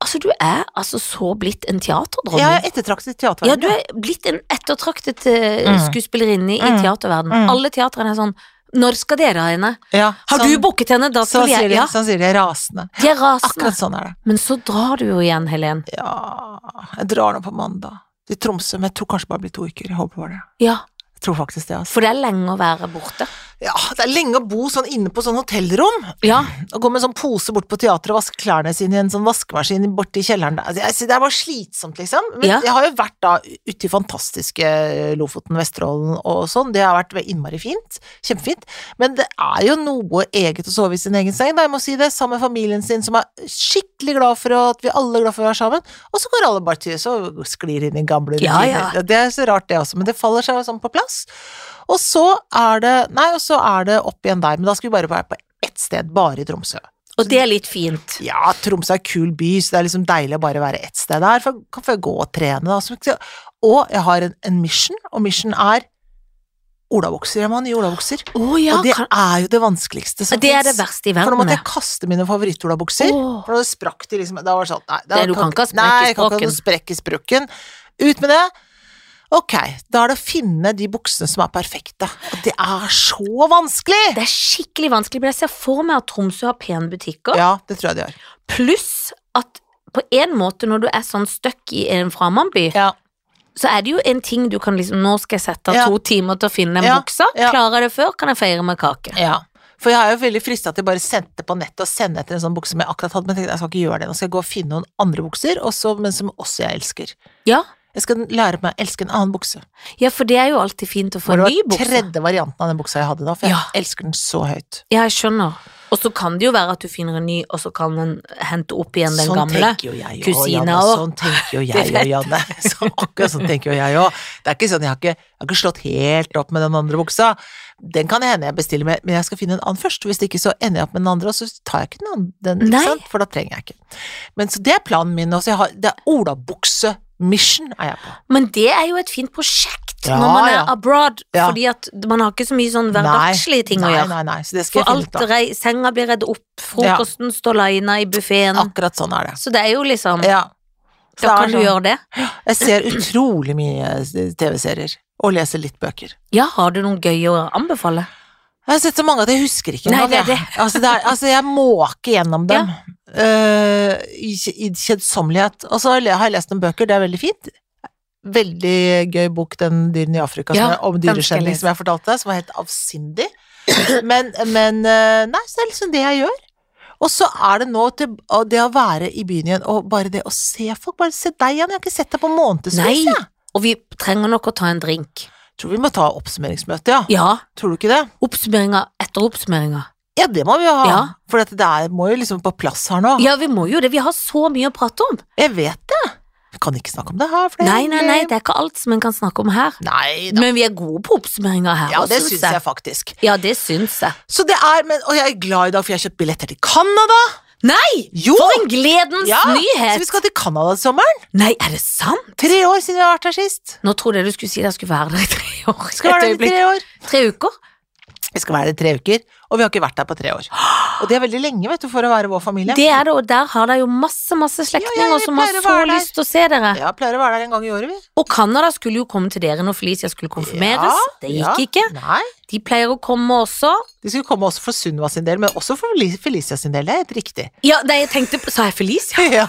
Speaker 1: Altså, du er altså så blitt en teaterdronning.
Speaker 2: Jeg er ettertraktet i
Speaker 1: Ja, du
Speaker 2: teaterverdenen.
Speaker 1: er blitt en ettertraktet eh,
Speaker 2: Mm.
Speaker 1: skuespillerinne i
Speaker 2: Mm.
Speaker 1: teaterverden.
Speaker 2: Mm.
Speaker 1: Alle teatrene er sånn Når skal dere ha henne?
Speaker 2: Ja,
Speaker 1: Har
Speaker 2: sånn-
Speaker 1: du booket henne? Da
Speaker 2: sånn
Speaker 1: skal
Speaker 2: sier,
Speaker 1: jeg
Speaker 2: de,
Speaker 1: Ja,
Speaker 2: sånn sier de rasende.
Speaker 1: de er rasende.
Speaker 2: Akkurat sånn er det.
Speaker 1: Men så drar du jo igjen, Helen.
Speaker 2: Ja Jeg drar nå på mandag til Tromsø, men jeg tror kanskje det bare blir to uker. Jeg håper bare det.
Speaker 1: Ja,
Speaker 2: Jeg tror faktisk det, altså.
Speaker 1: for det er lenge å være borte.
Speaker 2: Ja, det er lenge å bo sånn inne på sånn hotellrom,
Speaker 1: Ja,
Speaker 2: og gå med sånn pose bort på teatret og vaske klærne sine i en sånn vaskemaskin borti kjelleren der. Altså, jeg, sy- det er bare slitsomt, liksom. Men
Speaker 1: Ja.
Speaker 2: jeg har jo vært da ute i fantastiske Lofoten, Vesterålen og sånn. Det har vært ve- innmari fint. Kjempefint. Men det er jo noe eget å sove i sin egen seng, da, jeg må si det. Sammen med familien sin, som er skikkelig glad for at vi alle er glad for å være sammen. Og så går alle bare til så sklir inn i gamble
Speaker 1: Ja, ja.
Speaker 2: rutiner. Det er så rart, det også, men det faller seg jo sånn på plass. Og så er det Nei, og så er det opp igjen der, men da skal vi bare være på ett sted, bare i Tromsø.
Speaker 1: og det er litt fint.
Speaker 2: Ja, Tromsø er en kul by, så det er liksom deilig å bare være ett sted der. For kan få gå og trene, da. Så- Og jeg har en, en mission, og mission er olabukser. Jeg må ha nye olabukser.
Speaker 1: Å ja,
Speaker 2: og det
Speaker 1: kan,
Speaker 2: er jo det vanskeligste som
Speaker 1: det er det
Speaker 2: finnes.
Speaker 1: verste i
Speaker 2: For nå
Speaker 1: verden.
Speaker 2: måtte
Speaker 1: det.
Speaker 2: jeg kaste mine favorittolabukser.
Speaker 1: Åh.
Speaker 2: For da sprakk de liksom Da var det sånn Nei, da
Speaker 1: Det du kan ikke ha sprekk i
Speaker 2: nei, jeg kan ikke ha
Speaker 1: språken.
Speaker 2: noe sprekk i sprukken. Ut med det. Ok, da er det å finne de buksene som er perfekte. Og det er så vanskelig!
Speaker 1: Det er skikkelig vanskelig, men jeg ser for meg at Tromsø har pene butikker,
Speaker 2: Ja, det tror jeg de gjør.
Speaker 1: pluss at på en måte når du er sånn støkk i en framandby,
Speaker 2: Ja.
Speaker 1: så er det jo en ting du kan liksom Nå skal jeg sette av
Speaker 2: Ja.
Speaker 1: to timer til å finne en
Speaker 2: Ja,
Speaker 1: bukse.
Speaker 2: ja.
Speaker 1: Klarer jeg det før, kan jeg feire med kake.
Speaker 2: Ja. For jeg er jo veldig frista til bare sendte på nettet og sende etter en sånn bukse som jeg akkurat hadde, men jeg tenkte jeg skal ikke gjøre det. Nå skal jeg gå og finne noen andre bukser, og så- men som også jeg elsker.
Speaker 1: Ja,
Speaker 2: Jeg skal lære meg å elske en annen bukse.
Speaker 1: ja for det er jo alltid fint å få
Speaker 2: For
Speaker 1: en
Speaker 2: det
Speaker 1: ny
Speaker 2: var
Speaker 1: bukse.
Speaker 2: tredje varianten av den buksa jeg hadde da, for jeg
Speaker 1: Ja.
Speaker 2: elsker den så høyt.
Speaker 1: Ja, jeg skjønner. Og så kan det jo være at du finner en ny, og så kan den hente opp igjen den
Speaker 2: sånn
Speaker 1: gamle.
Speaker 2: tenker jo jeg og
Speaker 1: kusina
Speaker 2: Janne,
Speaker 1: også.
Speaker 2: Sånn tenker jo
Speaker 1: Det
Speaker 2: jeg
Speaker 1: vet
Speaker 2: og Janne. Så akkurat sånn tenker jo jeg òg. Det er ikke sånn, jeg har ikke, jeg har ikke slått helt opp med den andre buksa. Den kan hende jeg bestiller med, men jeg skal finne en annen først. Hvis ikke så ender jeg opp med den andre, og så tar jeg ikke den andre, den,
Speaker 1: Nei.
Speaker 2: ikke sant? for da trenger jeg ikke. Men så det er planen min også. Jeg har, det er olabukse-mission er jeg på.
Speaker 1: Men det er jo et fint prosjekt
Speaker 2: Ja,
Speaker 1: når man er
Speaker 2: ja.
Speaker 1: abroad,
Speaker 2: Ja.
Speaker 1: fordi at man har ikke så mye sånn
Speaker 2: Nei.
Speaker 1: hverdagslige ting å
Speaker 2: nei,
Speaker 1: gjøre.
Speaker 2: Nei, nei, så det skal
Speaker 1: For
Speaker 2: jeg finne
Speaker 1: alt
Speaker 2: ut av.
Speaker 1: rei, senga blir redd opp, frokosten står lina i buffeen.
Speaker 2: Akkurat sånn er det.
Speaker 1: Så det er jo liksom
Speaker 2: Ja. Så
Speaker 1: Da
Speaker 2: det er
Speaker 1: kan du
Speaker 2: sånn-
Speaker 1: gjøre det.
Speaker 2: Jeg ser utrolig mye TV-serier, og leser litt bøker.
Speaker 1: Ja, har du noen gøye å anbefale?
Speaker 2: Jeg har sett så mange at jeg husker ikke
Speaker 1: Nei,
Speaker 2: engang.
Speaker 1: det er
Speaker 2: jeg. Altså, det er, altså, jeg måker gjennom dem eh, i, i kjedsommelighet. Og så har jeg- har jeg lest noen bøker, det er veldig fint. Veldig gøy bok, den Dyrene i Afrika,
Speaker 1: Ja,
Speaker 2: som jeg, om
Speaker 1: den skal jeg
Speaker 2: dyresending
Speaker 1: lese.
Speaker 2: som jeg fortalte deg, som var helt avsindig. Men, men eh, nei, så det er liksom det jeg gjør. Og så er det nå til, og det å være i byen igjen, og bare det å se folk, bare se deg igjen, jeg har ikke sett deg på
Speaker 1: Nei.
Speaker 2: månedsvis, jeg.
Speaker 1: Og vi trenger nok å ta en drink.
Speaker 2: Tror vi må ta oppsummeringsmøte, ja.
Speaker 1: Ja.
Speaker 2: Tror du ikke det?
Speaker 1: Oppsummeringa etter oppsummeringa.
Speaker 2: Ja, det må vi jo ha.
Speaker 1: Ja.
Speaker 2: For dette der må jo liksom på plass her nå.
Speaker 1: Ja, vi må jo det. Vi har så mye å prate om.
Speaker 2: Jeg vet det. Vi kan ikke snakke om det her. For det er
Speaker 1: Nei, nei, nei,
Speaker 2: egentlig-
Speaker 1: det er ikke alt som en kan snakke om her.
Speaker 2: Nei da.
Speaker 1: Men vi er gode på oppsummeringa her.
Speaker 2: Ja,
Speaker 1: også,
Speaker 2: det
Speaker 1: synes
Speaker 2: syns jeg Uh! faktisk.
Speaker 1: Ja, det syns jeg.
Speaker 2: Så det er, men, Og jeg er glad i dag, for jeg har kjøpt billetter til Canada.
Speaker 1: Nei!
Speaker 2: Jo!
Speaker 1: For en gledens
Speaker 2: Ja, Så
Speaker 1: nyhet!
Speaker 2: vi skal til Canada i sommeren.
Speaker 1: Nei, er det sant?
Speaker 2: Tre år siden vi har vært her sist.
Speaker 1: Nå trodde jeg du skulle si det jeg skulle være der i tre år.
Speaker 2: Skal
Speaker 1: Et
Speaker 2: være der i
Speaker 1: øyeblikk.
Speaker 2: tre år.
Speaker 1: Tre uker?
Speaker 2: Vi skal være der i tre uker, og vi har ikke vært der på tre år. Og det er veldig lenge, vet du, for å være vår familie.
Speaker 1: Det er det, og der har dere jo masse, masse slektninger
Speaker 2: jeg
Speaker 1: som har
Speaker 2: pleier å
Speaker 1: så
Speaker 2: være der.
Speaker 1: lyst til å se dere.
Speaker 2: Ja, pleier å være der en gang i året, vi.
Speaker 1: Og Canada skulle jo komme til dere når Felicia skulle konfirmeres.
Speaker 2: Ja,
Speaker 1: det gikk ikke.
Speaker 2: Nei.
Speaker 1: De pleier å komme også.
Speaker 2: De skulle komme også for Sunniva sin del, men også for Li- Felicia sin del. Det er helt riktig.
Speaker 1: Ja, nei, jeg tenkte på- Sa jeg Felicia?
Speaker 2: Ja.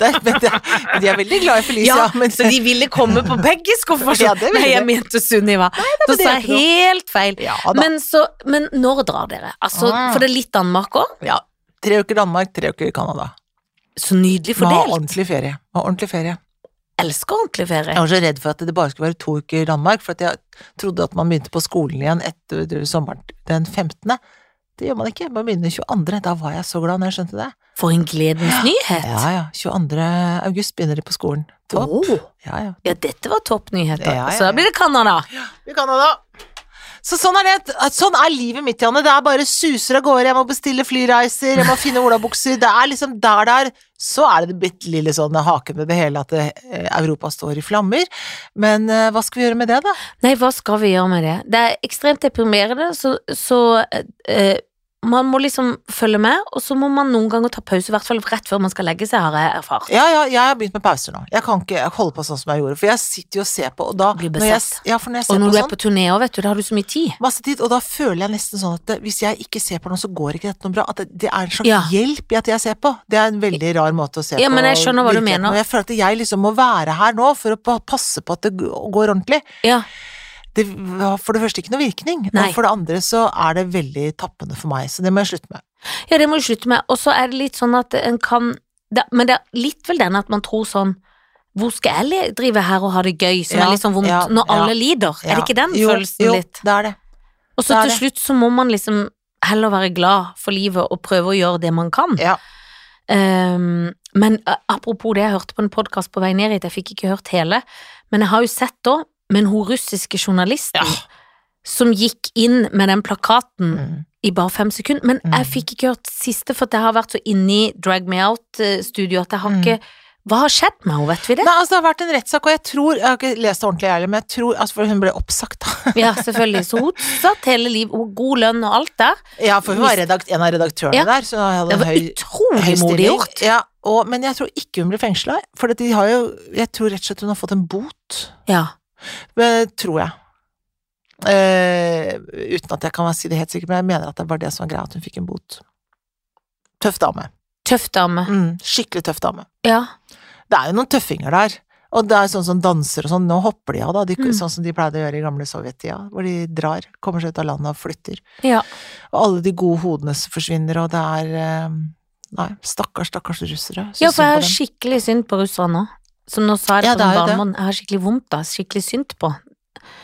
Speaker 2: Det er, men det er, men de er veldig glad i Felicia.
Speaker 1: Ja,
Speaker 2: men,
Speaker 1: så de ville komme på begges konfirmasjon.
Speaker 2: Ja, det ville
Speaker 1: nei, jeg
Speaker 2: de.
Speaker 1: mente Sunniva. Da
Speaker 2: men det
Speaker 1: sa
Speaker 2: er
Speaker 1: jeg
Speaker 2: ikke noe.
Speaker 1: helt feil.
Speaker 2: ja da.
Speaker 1: Men, så, men når drar dere? Altså,
Speaker 2: Ah.
Speaker 1: For det er litt Danmark òg.
Speaker 2: ja, tre uker Danmark, tre uker Canada.
Speaker 1: Så nydelig
Speaker 2: Må ha
Speaker 1: fordelt.
Speaker 2: ordentlig ferie. Må ha ordentlig ferie.
Speaker 1: elsker ordentlig ferie.
Speaker 2: Jeg var så redd for at det bare skulle være to uker i Danmark, for at jeg trodde at man begynte på skolen igjen etter sommeren den 15. Det gjør man ikke, man begynner 22. Da var jeg så glad når jeg skjønte det.
Speaker 1: For en gledens nyhet.
Speaker 2: Ja ja, 22. august begynner de på skolen. Topp.
Speaker 1: Åh,
Speaker 2: Ja ja.
Speaker 1: ja, dette var toppnyheter.
Speaker 2: Ja, ja,
Speaker 1: Så da
Speaker 2: ja.
Speaker 1: blir det Canada.
Speaker 2: Vi kan det da. Så sånn er det. Sånn er livet mitt, Janne. Det er bare suser av gårde. Jeg må bestille flyreiser, jeg må finne olabukser. Det er liksom der det er. Så er det det bitte lille sånn haken med det hele at det, eh, Europa står i flammer. Men eh, hva skal vi gjøre med det, da?
Speaker 1: Nei, hva skal vi gjøre med det? Det er ekstremt deprimerende, så, så eh, man må liksom følge med, og så må man noen ganger ta pause, i hvert fall rett før man skal legge seg, har jeg erfart.
Speaker 2: Ja, ja, jeg har begynt med pauser nå. Jeg kan ikke holde på sånn som jeg gjorde, for jeg sitter jo og ser på, og da
Speaker 1: Blir
Speaker 2: når jeg,
Speaker 1: besatt.
Speaker 2: ja, for når jeg
Speaker 1: Og
Speaker 2: ser
Speaker 1: når
Speaker 2: på
Speaker 1: du er
Speaker 2: sånn,
Speaker 1: på turné òg, vet du, da har du så mye tid.
Speaker 2: masse tid, og da føler jeg nesten sånn at eh, hvis jeg ikke ser på noe, så går ikke dette noe bra. At det, det er en slags
Speaker 1: Ja.
Speaker 2: hjelp i at jeg ser på. Det er en veldig rar måte å se
Speaker 1: Ja,
Speaker 2: på.
Speaker 1: men jeg skjønner hva du
Speaker 2: virkeligheten,
Speaker 1: mener.
Speaker 2: Og jeg føler at jeg liksom må være her nå for å pa- passe på at det g- går ordentlig.
Speaker 1: Ja.
Speaker 2: Det har for det første ikke noe virkning,
Speaker 1: Nei.
Speaker 2: og for det andre så er det veldig tappende for meg, så det må jeg slutte med.
Speaker 1: Ja, det må du slutte med. Og så er det litt sånn at en kan det, Men det er litt vel den at man tror sånn Hvor skal jeg le- drive her og ha det gøy, som
Speaker 2: Ja,
Speaker 1: er litt sånn vondt,
Speaker 2: ja,
Speaker 1: når
Speaker 2: ja,
Speaker 1: alle lider? Er
Speaker 2: Ja.
Speaker 1: det ikke den
Speaker 2: jo,
Speaker 1: følelsen
Speaker 2: jo,
Speaker 1: litt?
Speaker 2: det er det.
Speaker 1: Og så
Speaker 2: det er
Speaker 1: til
Speaker 2: det.
Speaker 1: slutt så må man liksom heller være glad for livet og prøve å gjøre det man kan.
Speaker 2: Ja.
Speaker 1: Ehm, men eh, apropos det, jeg hørte på en podkast på vei ned hit, jeg fikk ikke hørt hele, men jeg har jo sett da, men hun russiske journalisten
Speaker 2: Ja.
Speaker 1: som gikk inn med den plakaten
Speaker 2: Mm.
Speaker 1: i bare fem sekunder. Men
Speaker 2: Mm.
Speaker 1: jeg fikk ikke hørt siste, for at jeg har vært så inne i Drag Me Out-studioet at jeg har
Speaker 2: Mm.
Speaker 1: ikke Hva har skjedd med henne, vet vi det?
Speaker 2: Nei, altså det har vært en rettssak, og jeg tror, jeg har ikke lest det ordentlig jeg heller, men jeg tror, altså for hun ble oppsagt da.
Speaker 1: Ja, selvfølgelig. Så hun satt hele livet, og god lønn og alt der.
Speaker 2: Ja, for hun var redakt, en av redaktørene
Speaker 1: Ja.
Speaker 2: der, så hun hadde
Speaker 1: Det
Speaker 2: en
Speaker 1: var
Speaker 2: høy, høy
Speaker 1: utrolig modig
Speaker 2: stilling.
Speaker 1: gjort.
Speaker 2: Ja, og, men jeg tror ikke hun ble fengsla, for at de har jo, jeg tror rett og slett hun har fått en bot,
Speaker 1: Ja.
Speaker 2: men, tror jeg. Eh, uten at jeg kan si det helt sikkert, men jeg mener at det var det som var greia, at hun fikk en bot. Tøff dame.
Speaker 1: Tøff dame.
Speaker 2: Mm, skikkelig tøff dame.
Speaker 1: Ja.
Speaker 2: Det er jo noen tøffinger der. Og det er sånn som danser og sånn, nå hopper de av, da. De,
Speaker 1: Mm.
Speaker 2: Sånn som de pleide å gjøre i gamle sovjettida, hvor de drar, kommer seg ut av landet og flytter.
Speaker 1: Ja.
Speaker 2: Og alle de gode hodene som forsvinner, og det er eh, Nei, stakkars, stakkars russere. Så
Speaker 1: ja, for jeg
Speaker 2: synd på
Speaker 1: har
Speaker 2: dem.
Speaker 1: skikkelig synd på russerne nå. Som nå sa jeg
Speaker 2: Ja,
Speaker 1: på
Speaker 2: det er
Speaker 1: den
Speaker 2: jo det.
Speaker 1: barnemåten. Jeg har skikkelig vondt, da. Skikkelig synd på.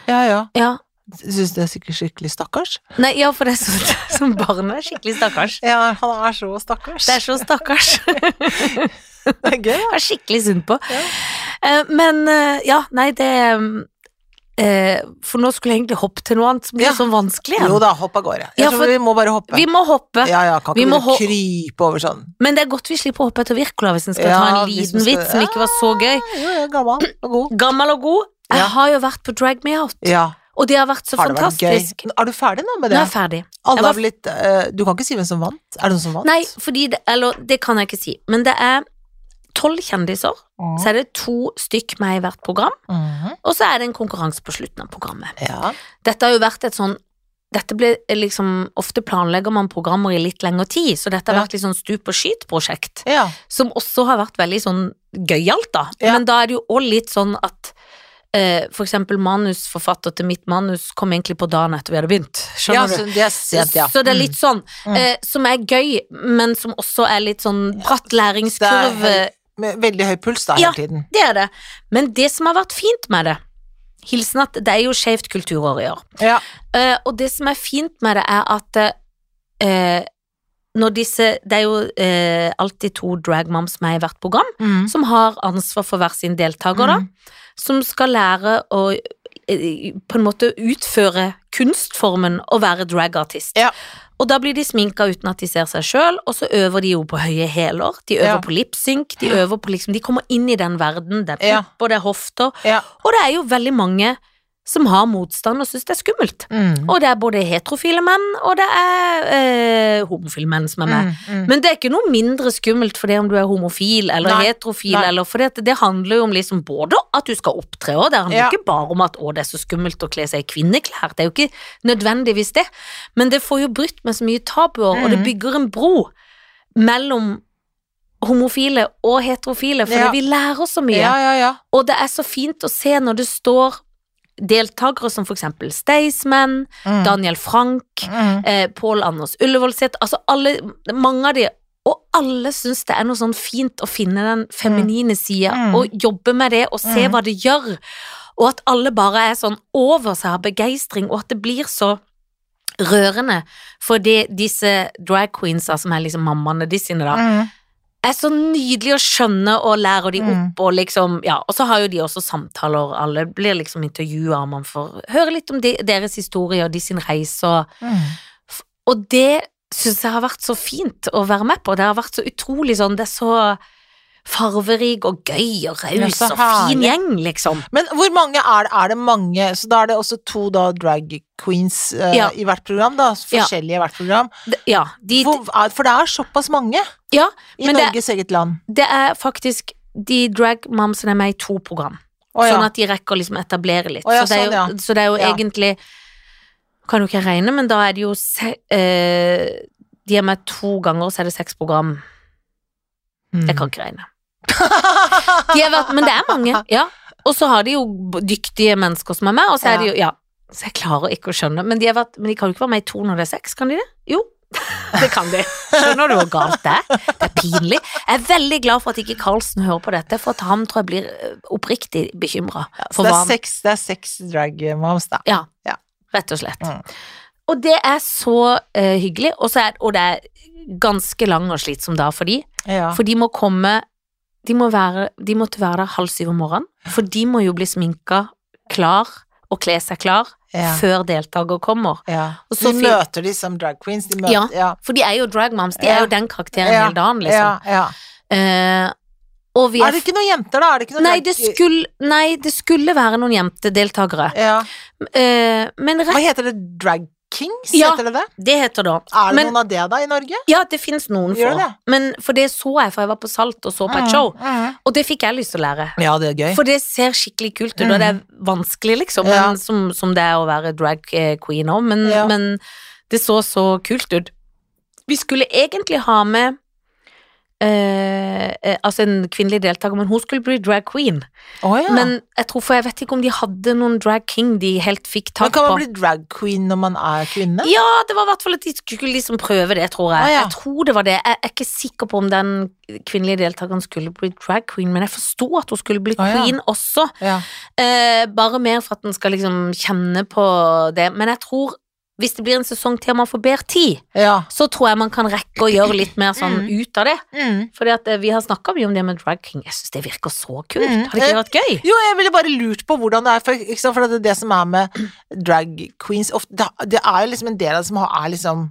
Speaker 2: Ja, ja.
Speaker 1: Ja.
Speaker 2: Syns det er sikkert skikkelig stakkars.
Speaker 1: Nei, ja, for det er sånn som barn er skikkelig stakkars.
Speaker 2: Ja, han er så stakkars.
Speaker 1: Det er så stakkars.
Speaker 2: Det er gøy, da.
Speaker 1: Jeg er skikkelig synd på.
Speaker 2: Ja.
Speaker 1: Eh, Men eh, ja, nei, det eh, For nå skulle jeg egentlig hoppe til noe annet som blir
Speaker 2: Ja.
Speaker 1: sånn vanskelig
Speaker 2: Jo
Speaker 1: igjen.
Speaker 2: da, hopp av gårde. Jeg
Speaker 1: Ja, for-
Speaker 2: tror vi må bare hoppe.
Speaker 1: Vi må hoppe,
Speaker 2: ja, ja, kan
Speaker 1: vi
Speaker 2: ikke
Speaker 1: må
Speaker 2: vi
Speaker 1: ho-
Speaker 2: krype over sånn.
Speaker 1: men det er godt vi slipper å hoppe etter Wirkola hvis en skal
Speaker 2: Ja,
Speaker 1: ta en liten
Speaker 2: hvis vi skal-
Speaker 1: vits som ikke var så gøy.
Speaker 2: Ja, jo, jeg er gammel og god.
Speaker 1: Gammel og god. Jeg
Speaker 2: Ja.
Speaker 1: har jo vært på Drag Me Out,
Speaker 2: Ja,
Speaker 1: og det har vært så
Speaker 2: har det vært
Speaker 1: fantastisk.
Speaker 2: gøy? Er du ferdig nå
Speaker 1: Nå
Speaker 2: med det?
Speaker 1: er jeg ferdig.
Speaker 2: Alle
Speaker 1: Jeg var-
Speaker 2: har blitt eh, Du kan ikke si hvem som vant? Er det noen som vant?
Speaker 1: Nei, fordi det, Eller, det kan jeg ikke si. Men det er tolv kjendiser.
Speaker 2: Mm.
Speaker 1: Så er det to stykk med i hvert program,
Speaker 2: Mhm.
Speaker 1: og så er det en konkurranse på slutten av programmet.
Speaker 2: Ja.
Speaker 1: Dette har jo vært et sånn dette ble liksom, Ofte planlegger man programmer i litt lengre tid, så dette har
Speaker 2: Ja.
Speaker 1: vært litt sånn stup og skyt-prosjekt.
Speaker 2: ja.
Speaker 1: Som også har vært veldig sånn gøyalt, da.
Speaker 2: Ja.
Speaker 1: Men da er det jo òg litt sånn at eh, for eksempel manusforfatter til mitt manus kom egentlig på dagen etter vi hadde begynt.
Speaker 2: ja
Speaker 1: Skjønner
Speaker 2: så det er sent, ja.
Speaker 1: du? Så det er litt sånn,
Speaker 2: Mm.
Speaker 1: eh, som er gøy, men som også er litt sånn bratt
Speaker 2: Mm. Det er
Speaker 1: læringskurve.
Speaker 2: høy, Mm. med veldig høy puls da hele
Speaker 1: Ja.
Speaker 2: tiden.
Speaker 1: Det er det. Men det som har vært fint med det Hilsen at det er jo skjevt kulturår i år.
Speaker 2: Ja.
Speaker 1: Eh, og det som er fint med det, er at eh, når disse Det er jo eh, alltid to dragmoms med i hvert program,
Speaker 2: Mm.
Speaker 1: som har ansvar for hver sin deltaker, da.
Speaker 2: Mm.
Speaker 1: Som skal lære å eh, på en måte utføre kunstformen å være dragartist.
Speaker 2: Ja.
Speaker 1: Og da blir de sminka uten at de ser seg sjøl, og så øver de jo på høye hæler. De øver
Speaker 2: Ja.
Speaker 1: på lipsynk, de øver på liksom De kommer inn i den verden. Det er
Speaker 2: Ja.
Speaker 1: pupp, og det er hofter.
Speaker 2: Ja.
Speaker 1: Og det er jo veldig mange som har motstand og syns det er skummelt.
Speaker 2: Mm.
Speaker 1: Og det er både heterofile menn, og det er eh, homofile menn som er med.
Speaker 2: Mm.
Speaker 1: Men det er ikke noe mindre skummelt for det om du er homofil eller
Speaker 2: Nei,
Speaker 1: heterofil,
Speaker 2: nei.
Speaker 1: eller for det, det handler jo om liksom både at du skal opptre òg, det handler
Speaker 2: Ja.
Speaker 1: ikke bare om at å, det er så skummelt å kle seg i kvinneklær, det er jo ikke nødvendigvis det, men det får jo brutt med så mye tabuer, og det
Speaker 2: Mhm.
Speaker 1: bygger en bro mellom homofile og heterofile, for
Speaker 2: Ja.
Speaker 1: vi lærer så mye.
Speaker 2: Ja, ja, ja.
Speaker 1: Og det er så fint å se når det står deltakere som for eksempel Staysman,
Speaker 2: Mm.
Speaker 1: Daniel Frank,
Speaker 2: Mm.
Speaker 1: eh, Pål Anders Ullevålseth, altså alle, mange av de Og alle syns det er noe sånn fint å finne den feminine sida,
Speaker 2: Mm.
Speaker 1: og jobbe med det, og se
Speaker 2: Mm.
Speaker 1: hva det gjør. Og at alle bare er sånn over seg av begeistring, og at det blir så rørende. For det, disse drag queensa, som er liksom mammaene de sine, da,
Speaker 2: Mm.
Speaker 1: er så nydelig å skjønne og lære de
Speaker 2: Mm.
Speaker 1: opp, og liksom Ja, og så har jo de også samtaler, alle blir liksom intervjua, og man får høre litt om de, deres historie og de sin reise og
Speaker 2: Mm.
Speaker 1: og det syns jeg har vært så fint å være med på. Det har vært så utrolig sånn Det er så farverik og gøy og
Speaker 2: Ja,
Speaker 1: raus
Speaker 2: så
Speaker 1: og fin
Speaker 2: herlig.
Speaker 1: gjeng, liksom.
Speaker 2: Men hvor mange er det? Er det mange? Så da er det også to da, drag queens eh,
Speaker 1: Ja.
Speaker 2: i hvert program, da. Forskjellige i hvert program.
Speaker 1: Det- Ja, de,
Speaker 2: Hvor, er, for det er såpass mange
Speaker 1: ja,
Speaker 2: i
Speaker 1: Men det-
Speaker 2: Norges eget land.
Speaker 1: det er faktisk de drag momsene er med i to program,
Speaker 2: Å ja.
Speaker 1: sånn at de rekker å liksom etablere litt.
Speaker 2: Å ja,
Speaker 1: så, det er jo,
Speaker 2: sånn, ja.
Speaker 1: så det er jo
Speaker 2: Ja.
Speaker 1: egentlig Kan jo ikke regne, men da er det jo se, eh, De er med to ganger, så er det seks program.
Speaker 2: Mm.
Speaker 1: Jeg kan ikke regne. De har vært, men det er mange, ja. Og så har de jo b- dyktige mennesker som er med, og så er de jo Ja. Så jeg klarer ikke å skjønne, men de, har vært, men de kan jo ikke være med i to når det er seks, kan de det? Jo. Det kan de. Skjønner du hvor galt det er? Det er pinlig. Jeg er veldig glad for at ikke Karlsen hører på dette, for at han tror jeg blir eh, oppriktig bekymra
Speaker 2: Så
Speaker 1: for
Speaker 2: det
Speaker 1: hva
Speaker 2: er
Speaker 1: han
Speaker 2: seks, det er seks drag moms, da.
Speaker 1: Ja.
Speaker 2: Ja.
Speaker 1: Rett og slett.
Speaker 2: Mm.
Speaker 1: Og det er så eh, hyggelig, og, så er, og det er ganske lang og slitsom dag for de.
Speaker 2: Ja.
Speaker 1: For de må komme de, må være, de måtte være der halv syv om morgenen, for de må jo bli sminka klar og kle seg klar
Speaker 2: ja.
Speaker 1: før deltaker kommer.
Speaker 2: ja.
Speaker 1: Og så
Speaker 2: De
Speaker 1: fin-
Speaker 2: møter de som drag queens. De møter,
Speaker 1: Ja.
Speaker 2: ja.
Speaker 1: For de er jo drag moms, de
Speaker 2: Ja.
Speaker 1: er jo den karakteren
Speaker 2: Ja.
Speaker 1: hele dagen,
Speaker 2: ja,
Speaker 1: liksom.
Speaker 2: ja.
Speaker 1: Eh, og vi
Speaker 2: Er
Speaker 1: er,
Speaker 2: det ikke sånn noen jenter, da? Er det ikke noen
Speaker 1: nei,
Speaker 2: drag-
Speaker 1: det skulle, nei, det skulle være noen jentedeltakere.
Speaker 2: ja.
Speaker 1: Eh, men
Speaker 2: Hva
Speaker 1: rett,
Speaker 2: heter det? Drag kings,
Speaker 1: Ja.
Speaker 2: heter det det?
Speaker 1: det heter det.
Speaker 2: Er det
Speaker 1: Men-
Speaker 2: noen av det da i Norge?
Speaker 1: Ja, det fins noen
Speaker 2: Gjør
Speaker 1: få.
Speaker 2: det?
Speaker 1: Men for det så jeg, for jeg var på Salt og så på et show.
Speaker 2: Mm.
Speaker 1: Og det fikk jeg lyst til å lære.
Speaker 2: Ja, det er gøy.
Speaker 1: For det ser skikkelig kult ut, og det er vanskelig, liksom,
Speaker 2: Mm. Ja.
Speaker 1: men, som, som det er å være drag eh, queen òg, men,
Speaker 2: Ja.
Speaker 1: men det så så kult ut. Vi skulle egentlig ha med eh, eh, altså en kvinnelig deltaker, men hun skulle bli drag queen.
Speaker 2: Å, ja.
Speaker 1: Men jeg tror for jeg vet ikke om de hadde noen drag king de helt fikk
Speaker 2: Men
Speaker 1: tak
Speaker 2: kan
Speaker 1: på.
Speaker 2: man bli drag queen når man er kvinne?
Speaker 1: Ja, det var i hvert fall at de skulle liksom prøve det, tror jeg.
Speaker 2: Å, ja.
Speaker 1: Jeg tror det var det. Jeg er ikke sikker på om den kvinnelige deltakeren skulle bli drag queen, men jeg forsto at hun skulle bli
Speaker 2: Å, ja.
Speaker 1: queen også.
Speaker 2: Ja.
Speaker 1: Eh, bare mer for at en skal liksom kjenne på det. Men jeg tror hvis det blir en sesong til og man får bedre tid,
Speaker 2: ja.
Speaker 1: så tror jeg man kan rekke å gjøre litt mer sånn ut av det.
Speaker 2: Mm.
Speaker 1: Fordi at eh, vi har snakka mye om det med drag king. Jeg syns det virker så kult.
Speaker 2: Mm.
Speaker 1: Har det ikke vært gøy?
Speaker 2: Jo, jeg ville bare lurt på hvordan det er, for, ikke sant? for det, er det som er med drag queens ofte, det, det er jo liksom en del av det som har- er liksom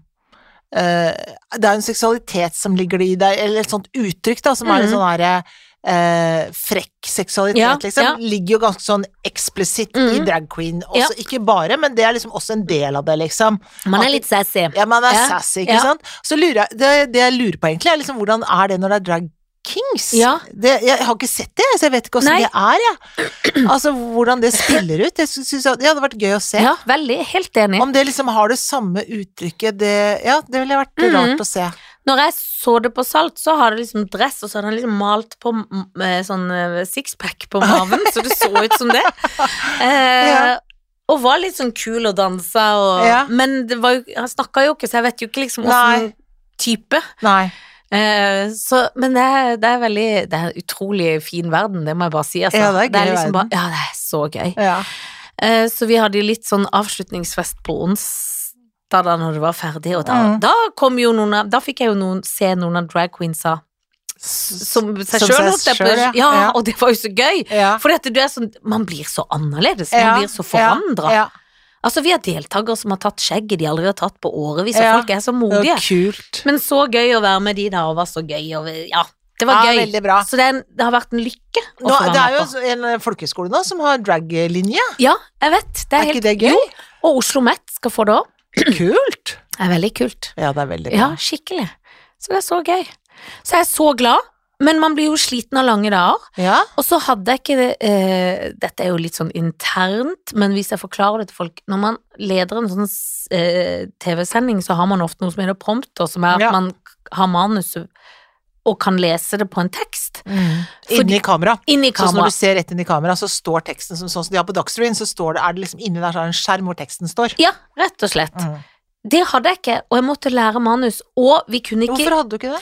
Speaker 2: eh, Det er jo en seksualitet som ligger i det, eller et sånt uttrykk da, som er litt
Speaker 1: Mhm.
Speaker 2: sånn derre eh, frekk seksualitet,
Speaker 1: Ja,
Speaker 2: liksom.
Speaker 1: ja.
Speaker 2: Ligger jo ganske sånn eksplisitt i
Speaker 1: Mhm.
Speaker 2: drag queen
Speaker 1: Ja.
Speaker 2: også. Ikke bare, men det er liksom også en del av det, liksom.
Speaker 1: Man er litt sassy.
Speaker 2: Ja, man er
Speaker 1: Ja,
Speaker 2: sassy, ikke
Speaker 1: ja.
Speaker 2: sant? Så lurer jeg, det, det jeg lurer på egentlig, er liksom hvordan er det når det er drag kings?
Speaker 1: Ja.
Speaker 2: Det, jeg har ikke sett det, så jeg vet ikke åssen
Speaker 1: Nei.
Speaker 2: det er, jeg. Altså hvordan det spiller ut. Jeg sy- synes at det hadde vært gøy å se.
Speaker 1: Ja, veldig. Helt enig.
Speaker 2: Om det liksom har det samme uttrykket, det Ja, det ville vært
Speaker 1: Mhm.
Speaker 2: rart å se.
Speaker 1: Når jeg så det på Salt, så har det liksom dress, og så hadde han liksom malt på m- med sånn eh, sixpack på maven, så det så ut som det. Eh,
Speaker 2: Ja.
Speaker 1: Og var litt sånn kul og dansa, og,
Speaker 2: Ja.
Speaker 1: men det var jo, han snakka jo ikke, så jeg vet jo ikke liksom åssen
Speaker 2: Nei.
Speaker 1: type.
Speaker 2: Nei.
Speaker 1: Eh, så, men det er, det er veldig Det er en utrolig fin verden, det må jeg bare si. Altså.
Speaker 2: Ja, det er gøy verden.
Speaker 1: liksom bare, ja, det er så gøy.
Speaker 2: Ja.
Speaker 1: Eh, så vi hadde jo litt sånn avslutningsfest på onsdag da når det var ferdig, og da,
Speaker 2: Mm.
Speaker 1: da kom jo noen av Da fikk jeg jo noen, se noen av drag queensa som seg sjøl,
Speaker 2: Som seg
Speaker 1: holdt jeg på
Speaker 2: selv,
Speaker 1: ja.
Speaker 2: ja. Ja.
Speaker 1: og det var jo så gøy.
Speaker 2: Ja.
Speaker 1: Fordi at du er sånn Man blir så annerledes,
Speaker 2: Ja,
Speaker 1: man blir så forandra.
Speaker 2: Ja.
Speaker 1: Altså, vi har deltakere som har tatt skjegget de aldri har tatt på årevis, og
Speaker 2: Ja.
Speaker 1: folk er så
Speaker 2: Det var
Speaker 1: modige.
Speaker 2: kult.
Speaker 1: Men så gøy å være med de der, og var så gøy, og vi- ja. Det var
Speaker 2: Ja,
Speaker 1: gøy.
Speaker 2: veldig bra.
Speaker 1: Så det, er en, det har vært en lykke å
Speaker 2: Nå,
Speaker 1: få
Speaker 2: det er
Speaker 1: være
Speaker 2: jo
Speaker 1: med på.
Speaker 2: en folkeskole nå som har drag-linje.
Speaker 1: Ja, jeg vet. Det er
Speaker 2: Er ikke
Speaker 1: helt,
Speaker 2: det gøy?
Speaker 1: Jo, og Oslo Met skal få det òg.
Speaker 2: Kult!
Speaker 1: Det er veldig kult.
Speaker 2: Ja, det er veldig bra.
Speaker 1: Ja, skikkelig. Så det er så gøy. Så jeg er så glad, men man blir jo sliten av lange dager.
Speaker 2: Ja.
Speaker 1: Og så hadde jeg ikke det eh, Dette er jo litt sånn internt, men hvis jeg forklarer det til folk Når man leder en sånn eh, TV-sending, så har man ofte noe som heter prompter, som er at
Speaker 2: Ja.
Speaker 1: man har manuset og kan lese det på en tekst.
Speaker 2: Mm.
Speaker 1: Fordi-
Speaker 2: Inni kamera.
Speaker 1: Inni
Speaker 2: Sånn som når
Speaker 1: kamera.
Speaker 2: du ser rett inn i kamera, så står teksten som sånn som de har på Dagsrevyen, så står det, er det liksom inni der så er det en skjerm hvor teksten står.
Speaker 1: Ja, rett og slett.
Speaker 2: Mm.
Speaker 1: Det hadde jeg ikke, og jeg måtte lære manus, og vi kunne ikke
Speaker 2: Hvorfor hadde du ikke det?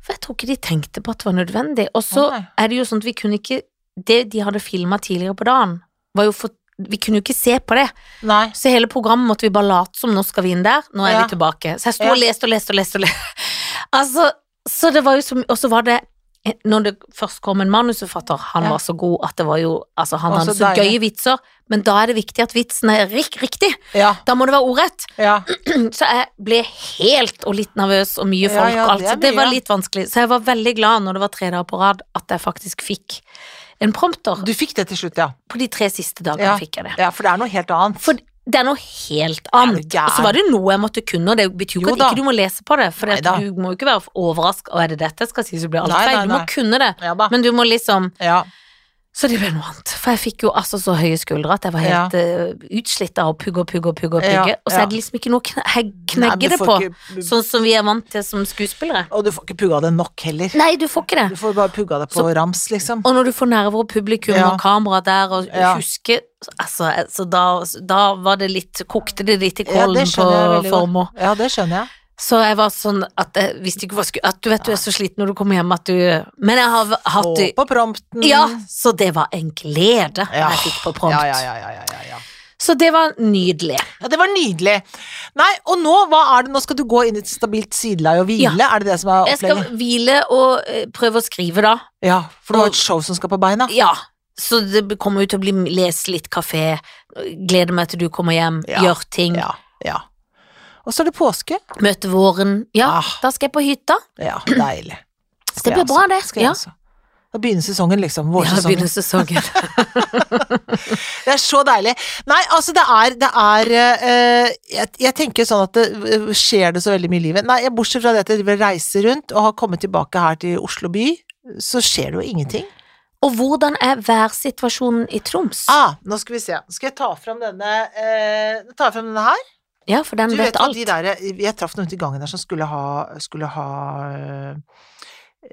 Speaker 1: For jeg tror ikke de tenkte på at det var nødvendig. Og så
Speaker 2: Å, nei.
Speaker 1: er det jo sånn at vi kunne ikke Det de hadde filma tidligere på dagen, var jo for Vi kunne jo ikke se på det.
Speaker 2: Nei.
Speaker 1: Så hele programmet måtte vi bare late som nå skal vi inn der, nå er
Speaker 2: Ja.
Speaker 1: vi tilbake. Så jeg sto
Speaker 2: Ja.
Speaker 1: og leste og leste og leste. Og leste. altså, så det var jo som, og så var det eh, når det først kom en manusforfatter, han
Speaker 2: Ja.
Speaker 1: var så god at det var jo altså Han
Speaker 2: Å,
Speaker 1: hadde
Speaker 2: så
Speaker 1: så
Speaker 2: deilig.
Speaker 1: gøye vitser, men da er det viktig at vitsen er rik riktig.
Speaker 2: Ja.
Speaker 1: Da må det være ordrett.
Speaker 2: Ja.
Speaker 1: Så jeg ble helt og litt nervøs, og mye
Speaker 2: Ja,
Speaker 1: folk
Speaker 2: ja,
Speaker 1: og alt.
Speaker 2: det er
Speaker 1: Så det
Speaker 2: mye.
Speaker 1: var litt vanskelig. Så jeg var veldig glad når det var tre dager på rad at jeg faktisk fikk en prompter.
Speaker 2: Du fikk det til slutt, ja.
Speaker 1: På de tre siste dagene
Speaker 2: Ja.
Speaker 1: fikk jeg det.
Speaker 2: ja. For det er noe helt annet.
Speaker 1: For det er noe helt
Speaker 2: Er du
Speaker 1: annet.
Speaker 2: gæren?
Speaker 1: Og så var det noe jeg måtte kunne, og det betyr jo
Speaker 2: Jo
Speaker 1: ikke at
Speaker 2: da.
Speaker 1: ikke du må lese på det. For at
Speaker 2: Neida.
Speaker 1: du må jo ikke være overraska, og er det dette jeg skal si, så blir alt
Speaker 2: Nei,
Speaker 1: feil.
Speaker 2: nei,
Speaker 1: Du må
Speaker 2: nei.
Speaker 1: kunne det,
Speaker 2: Ja da.
Speaker 1: men du må liksom
Speaker 2: Ja.
Speaker 1: Så det ble noe annet. For jeg fikk jo altså så høye skuldre at jeg var helt eh, utslitt av å pugge og pugge og pugge og
Speaker 2: Ja,
Speaker 1: pugge. Og så
Speaker 2: ja.
Speaker 1: er det liksom ikke noe å kne- he-
Speaker 2: Nei, men
Speaker 1: knegge
Speaker 2: du
Speaker 1: det på,
Speaker 2: får ikke-
Speaker 1: sånn som vi er vant til som skuespillere.
Speaker 2: Og du får ikke pugga det nok heller.
Speaker 1: Nei, du får ikke det.
Speaker 2: Du får bare pugga det på rams, liksom.
Speaker 1: Og når du får nerver og publikum
Speaker 2: Ja.
Speaker 1: og kamera der og
Speaker 2: Ja.
Speaker 1: huske altså, Så da, da var det litt Kokte det litt i
Speaker 2: Ja,
Speaker 1: kålen
Speaker 2: det skjønner jeg
Speaker 1: på
Speaker 2: veldig godt.
Speaker 1: formål.
Speaker 2: Ja, det skjønner jeg.
Speaker 1: Så jeg var sånn at jeg visste ikke hva jeg skulle At du vet du er så sliten når du kommer hjem at du Men jeg har hatt
Speaker 2: Og
Speaker 1: det
Speaker 2: på prompten.
Speaker 1: Ja, så det var en glede
Speaker 2: Ja.
Speaker 1: jeg fikk på prompt.
Speaker 2: Ja, ja, ja, ja, ja, ja.
Speaker 1: Så det var nydelig.
Speaker 2: Ja, det var nydelig. Nei, og nå, hva er det? Nå skal du gå inn i et stabilt sideleie og hvile, er det det som er
Speaker 1: Jeg skal
Speaker 2: opplegget?
Speaker 1: hvile og eh, prøve å skrive, da.
Speaker 2: Ja, for du har et show som skal på beina.
Speaker 1: Ja. Så det kommer jo til å bli lese litt kafé, gleder meg til du kommer hjem,
Speaker 2: Ja.
Speaker 1: gjør ting,
Speaker 2: Ja, ja. Og så er det påske.
Speaker 1: møte våren. Ja,
Speaker 2: Ah.
Speaker 1: da skal jeg på hytta.
Speaker 2: Ja, deilig.
Speaker 1: Så det blir bra, det.
Speaker 2: Skal jeg
Speaker 1: Ja.
Speaker 2: også. Da begynner sesongen, liksom.
Speaker 1: Ja,
Speaker 2: Vårsesongen.
Speaker 1: begynner sesongen.
Speaker 2: Det er så deilig. Nei, altså, det er, det er eh, jeg, jeg tenker sånn at det, eh, skjer det så veldig mye i livet. Nei, jeg- bortsett fra det at jeg driver og reiser rundt og har kommet tilbake her til Oslo by, så skjer det jo ingenting.
Speaker 1: Og hvordan er værsituasjonen i Troms?
Speaker 2: Ah, nå skal vi se. Nå skal jeg ta fram denne, eh, ta fram denne her.
Speaker 1: Ja, for den
Speaker 2: Du
Speaker 1: vet
Speaker 2: vet at
Speaker 1: alt.
Speaker 2: de der, jeg traff noen ute i gangen der som skulle ha, skulle ha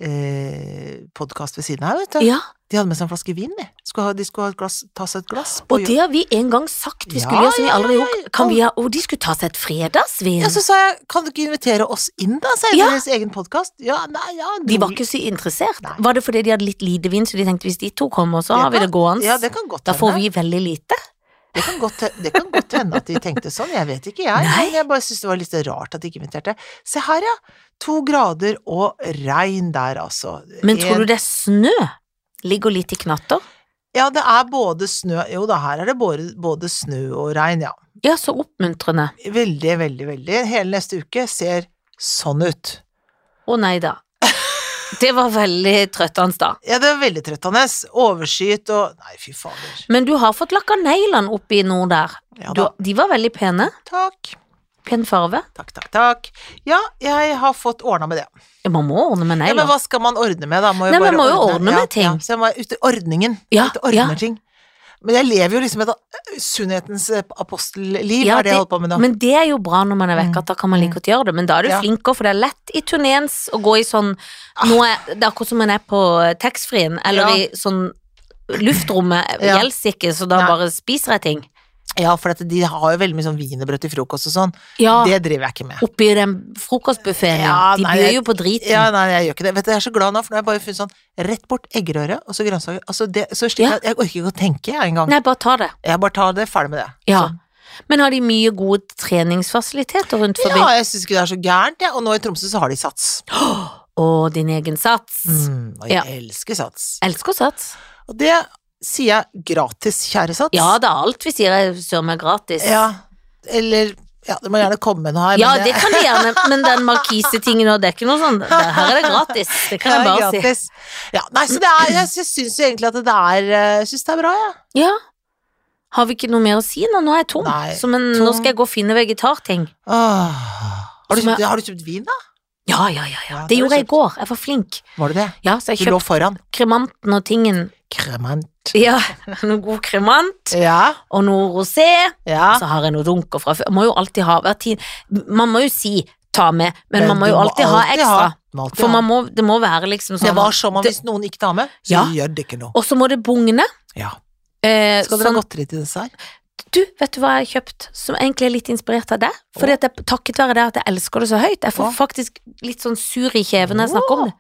Speaker 2: eh, podkast ved siden av, vet du.
Speaker 1: Ja,
Speaker 2: De hadde med seg en flaske vin, de. Skulle ha, de skulle ha et glass, ta seg et glass. på
Speaker 1: og det har vi en gang sagt vi skulle
Speaker 2: Ja,
Speaker 1: gjøre, som vi
Speaker 2: ja,
Speaker 1: aldri
Speaker 2: ja,
Speaker 1: gjorde. Kan vi ha Og de skulle ta seg et fredagsvin.
Speaker 2: Ja, så sa jeg, kan du ikke invitere oss inn da, sa jeg,
Speaker 1: Ja.
Speaker 2: til deres egen podkast? Ja, nei, ja.
Speaker 1: De var ikke så interessert.
Speaker 2: Nei.
Speaker 1: Var det fordi de hadde litt lite vin, så de tenkte hvis de to kommer, så
Speaker 2: Det
Speaker 1: har vi
Speaker 2: kan-
Speaker 1: det gående?
Speaker 2: Ja, det kan godt
Speaker 1: Da får vi
Speaker 2: hende.
Speaker 1: veldig lite.
Speaker 2: Det kan, godt, det kan godt hende at de tenkte sånn, jeg vet ikke jeg.
Speaker 1: Nei.
Speaker 2: Men jeg bare syntes det var litt rart at de ikke inviterte. Se her, ja. To grader og regn der, altså.
Speaker 1: Men tror du det er snø? Ligger litt i knatter?
Speaker 2: Ja, det er både snø Jo da, her er det både, både snø og regn, ja.
Speaker 1: Ja, så oppmuntrende.
Speaker 2: Veldig, veldig, veldig. Hele neste uke ser sånn ut.
Speaker 1: Å nei da. Det var veldig trøttende, da.
Speaker 2: Ja, det er veldig trøttende. Overskyet og Nei, fy fader.
Speaker 1: Men du har fått lakka neglene oppe i nord der.
Speaker 2: Ja
Speaker 1: Du,
Speaker 2: da.
Speaker 1: de var veldig pene.
Speaker 2: Takk.
Speaker 1: Pen farve.
Speaker 2: Takk, takk, takk. Ja, jeg har fått ordna med det.
Speaker 1: Ja, man må ordne med
Speaker 2: Ja, men
Speaker 1: negler.
Speaker 2: hva skal man ordne med, da? Må
Speaker 1: Nei, man må jo ordne med
Speaker 2: ja,
Speaker 1: ting.
Speaker 2: Ja, så jeg må ut i ordningen.
Speaker 1: Ja,
Speaker 2: ut i ordner ting. Men jeg lever jo liksom et eh, sunnhetens eh, apostelliv,
Speaker 1: Ja,
Speaker 2: er det jeg holder på med nå.
Speaker 1: Men det er jo bra når man er vekk,
Speaker 2: Mm.
Speaker 1: at da kan man like godt gjøre det. Men da er du
Speaker 2: Ja. Ah.
Speaker 1: flinkere, for det er lett i turneens å gå i sånn nå er, Det er akkurat som man er på eh, taxfree-en, eller
Speaker 2: Ja.
Speaker 1: i sånn Luftrommet
Speaker 2: Ja.
Speaker 1: gjelder ikke, så da
Speaker 2: Nei.
Speaker 1: bare spiser jeg ting.
Speaker 2: Ja, for at de har jo veldig mye sånn wienerbrød til frokost og sånn.
Speaker 1: Ja,
Speaker 2: Det driver jeg ikke med.
Speaker 1: oppi den frokostbuffeen.
Speaker 2: Ja,
Speaker 1: de
Speaker 2: nei,
Speaker 1: byr
Speaker 2: jeg-
Speaker 1: jo på driten.
Speaker 2: Ja, nei, jeg gjør ikke det. Vet du, jeg er så glad nå, for nå har jeg bare funnet sånn rett bort eggerøre og så grønnsaker. Altså, det, så slik
Speaker 1: Ja.
Speaker 2: at jeg orker ikke å tenke, jeg engang.
Speaker 1: Nei, bare ta det.
Speaker 2: Jeg bare tar det, ferdig med det.
Speaker 1: Ja.
Speaker 2: Sånn.
Speaker 1: Men har de mye gode treningsfasiliteter rundt forbi?
Speaker 2: Ja, jeg syns ikke det er så gærent, jeg. Og nå i Tromsø så har de Sats.
Speaker 1: Og din egen sats.
Speaker 2: Mm, og jeg
Speaker 1: Ja.
Speaker 2: elsker Sats.
Speaker 1: Elsker sats.
Speaker 2: Og det sier jeg gratis, kjære Sats.
Speaker 1: Ja, det er alt vi sier er søren meg gratis.
Speaker 2: Ja, eller ja, det må gjerne komme noe her.
Speaker 1: Ja,
Speaker 2: men
Speaker 1: det kan de gjerne, men den markisetingen og det er ikke noe sånn, det, her er det gratis, det kan jeg
Speaker 2: det er
Speaker 1: bare si.
Speaker 2: gratis. Ja, nei, så det er, jeg syns jo egentlig at det er eh, Jeg syns det er bra, jeg. Ja.
Speaker 1: Ja. Har vi ikke noe mer å si nå? Nå er jeg tom,
Speaker 2: Nei,
Speaker 1: så men nå
Speaker 2: tom.
Speaker 1: skal jeg gå og finne vegetarting.
Speaker 2: Åh. Har, du
Speaker 1: Som
Speaker 2: kjøpt, har du kjøpt vin, da?
Speaker 1: Ja, ja, ja, ja.
Speaker 2: Ja,
Speaker 1: det
Speaker 2: det har
Speaker 1: gjorde
Speaker 2: du
Speaker 1: jeg i går, jeg var flink.
Speaker 2: Var det det?
Speaker 1: Ja, så jeg
Speaker 2: Du lå
Speaker 1: kjøpte
Speaker 2: foran.
Speaker 1: kremanten og tingen.
Speaker 2: Kremant.
Speaker 1: Ja, noe god kremant
Speaker 2: Ja,
Speaker 1: og noe rosé,
Speaker 2: ja.
Speaker 1: så har jeg noe dunker fra før. Man Må jo alltid ha, hver tid, man må jo si ta med, men, man må
Speaker 2: du
Speaker 1: jo alltid, ha ekstra.
Speaker 2: må alltid
Speaker 1: For
Speaker 2: ha.
Speaker 1: man må, det må være liksom sånn.
Speaker 2: det var som om
Speaker 1: det-
Speaker 2: hvis noen ikke tar med, så
Speaker 1: Ja.
Speaker 2: gjør det ikke noe.
Speaker 1: Og så må det bugne.
Speaker 2: Ja.
Speaker 1: Eh,
Speaker 2: Skal dere
Speaker 1: sånn-
Speaker 2: ha godteri til dessert?
Speaker 1: Du, vet du hva jeg har kjøpt som egentlig er litt inspirert av deg? Fordi at jeg, takket være det at jeg elsker det så høyt. Jeg får
Speaker 2: Å.
Speaker 1: faktisk litt sånn sur i kjeven når jeg snakker om det.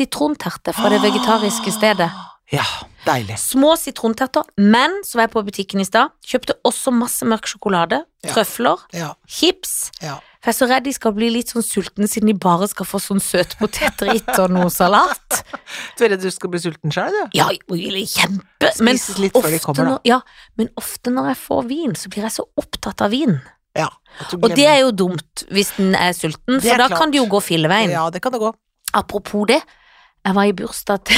Speaker 1: sitronterte fra det vegetariske stedet.
Speaker 2: Ja, deilig.
Speaker 1: Små sitronterter, men så var jeg på butikken i stad, kjøpte også masse mørk sjokolade,
Speaker 2: Ja.
Speaker 1: trøfler,
Speaker 2: Ja,
Speaker 1: chips.
Speaker 2: ja.
Speaker 1: For jeg er så redd de skal bli litt sånn sulten siden de bare skal få sånn søt potetrit og noe salat.
Speaker 2: Du er redd du skal bli sulten sjøl, du?
Speaker 1: Ja, jeg er kjempe
Speaker 2: Spises litt før de kommer, da.
Speaker 1: når, ja, men ofte når jeg får vin, så blir jeg så opptatt av vin.
Speaker 2: Ja. at du
Speaker 1: Og det
Speaker 2: glemmer.
Speaker 1: er jo dumt hvis den er sulten,
Speaker 2: Det
Speaker 1: for
Speaker 2: er
Speaker 1: da
Speaker 2: klart.
Speaker 1: kan det jo gå filleveien.
Speaker 2: Ja, det kan det gå.
Speaker 1: Apropos det, jeg var i bursdag til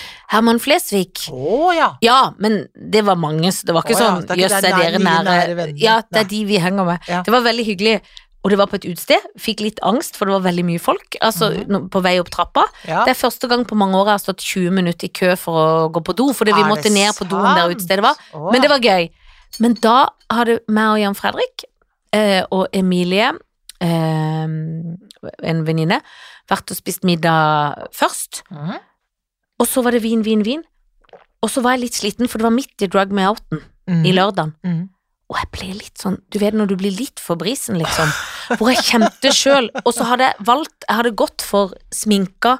Speaker 1: Herman Flesvig.
Speaker 2: Å ja.
Speaker 1: Ja, men det var mange, så det var ikke
Speaker 2: Å ja,
Speaker 1: sånn
Speaker 2: det er ikke-
Speaker 1: jøss,
Speaker 2: det
Speaker 1: er
Speaker 2: er
Speaker 1: dere
Speaker 2: mine
Speaker 1: nære,
Speaker 2: nære venner.
Speaker 1: Ja, det
Speaker 2: Nei.
Speaker 1: er de vi henger med.
Speaker 2: Ja.
Speaker 1: Det var veldig hyggelig. Og det var på et utested. Fikk litt angst, for det var veldig mye folk. Altså
Speaker 2: Mhm.
Speaker 1: nå- på vei opp trappa.
Speaker 2: ja.
Speaker 1: Det er første gang på mange år jeg har stått 20 minutter i kø for å gå på do, fordi vi
Speaker 2: Er
Speaker 1: måtte
Speaker 2: det
Speaker 1: ned på doen der
Speaker 2: sant?
Speaker 1: utestedet var.
Speaker 2: Å,
Speaker 1: Men det var gøy. Men da hadde meg og Jan Fredrik eh, og Emilie, eh, en venninne, vært og spist middag først.
Speaker 2: Mhm.
Speaker 1: Og så var det vin, vin, vin. Og så var jeg litt sliten, for det var midt i drug me outen
Speaker 2: Mhm.
Speaker 1: i lørdagen.
Speaker 2: Mhm.
Speaker 1: Og jeg ble litt sånn, du vet når du blir litt for brisen, liksom. Hvor jeg kjente sjøl. Og så hadde jeg valgt, jeg hadde gått for sminka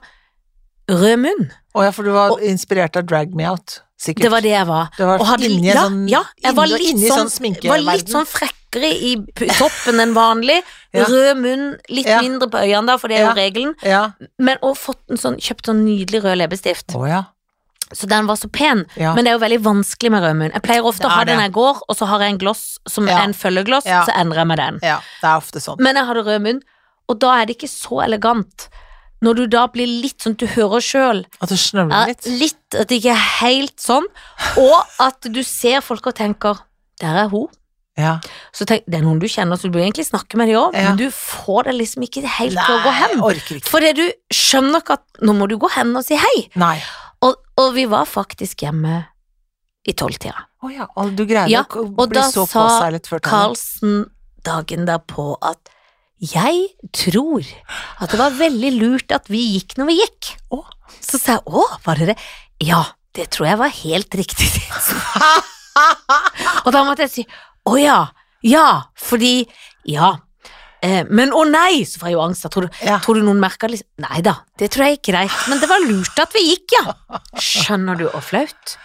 Speaker 1: rød munn.
Speaker 2: Å ja, for du var
Speaker 1: Og-
Speaker 2: inspirert av Drag Me Out, sikkert.
Speaker 1: Det var det jeg var.
Speaker 2: Du var
Speaker 1: og hadde-
Speaker 2: inni en
Speaker 1: ja,
Speaker 2: sånn,
Speaker 1: ja, jeg var
Speaker 2: inni-
Speaker 1: litt
Speaker 2: inni
Speaker 1: sånn-
Speaker 2: sånn sminkeverden.
Speaker 1: var litt sånn frekkere i p- toppen enn vanlig.
Speaker 2: Ja.
Speaker 1: Rød munn, litt
Speaker 2: Ja.
Speaker 1: mindre på øynene, da, for det er jo
Speaker 2: Ja.
Speaker 1: regelen.
Speaker 2: Ja.
Speaker 1: Men og fått en sånn, kjøpt sånn nydelig rød leppestift.
Speaker 2: Å ja.
Speaker 1: Så den var så pen.
Speaker 2: Ja.
Speaker 1: Men det er jo veldig vanskelig med rød munn. Jeg pleier ofte å
Speaker 2: Det
Speaker 1: ha
Speaker 2: er det.
Speaker 1: den jeg går, og så har jeg en gloss som
Speaker 2: Ja.
Speaker 1: er en følgegloss,
Speaker 2: Ja.
Speaker 1: så endrer jeg meg den.
Speaker 2: ja. Det er ofte sånn.
Speaker 1: Men jeg hadde rød munn, og da er det ikke så elegant. Når du da blir litt sånn, du hører sjøl
Speaker 2: At du snøvler litt.
Speaker 1: litt at det ikke er helt sånn, og at du ser folk og tenker der er hun.
Speaker 2: Ja.
Speaker 1: Så tenk, Det er noen du kjenner, så du bør egentlig snakke med dem òg,
Speaker 2: Ja.
Speaker 1: men du får det liksom ikke helt til å gå
Speaker 2: jeg
Speaker 1: hen.
Speaker 2: orker ikke.
Speaker 1: Fordi du skjønner ikke at nå må du gå hen og si hei.
Speaker 2: Nei.
Speaker 1: Og, og vi var faktisk hjemme i tolvtida.
Speaker 2: Å ja. og Du greide
Speaker 1: Ja,
Speaker 2: å
Speaker 1: og
Speaker 2: bli
Speaker 1: da
Speaker 2: så
Speaker 1: sa
Speaker 2: påseilet før talen.
Speaker 1: Karlsen dagen derpå at jeg tror at det var veldig lurt at vi gikk når vi gikk.
Speaker 2: Å.
Speaker 1: Så sa jeg å, var det det? Ja, det tror jeg var helt riktig. og da måtte jeg si å ja, ja, fordi ja. Eh, men å nei, så får jeg jo angst. da. Tror du,
Speaker 2: Ja.
Speaker 1: tror du noen merker liksom Nei da, det tror jeg er greit, men det var lurt at vi gikk, ja. Skjønner du og flaut?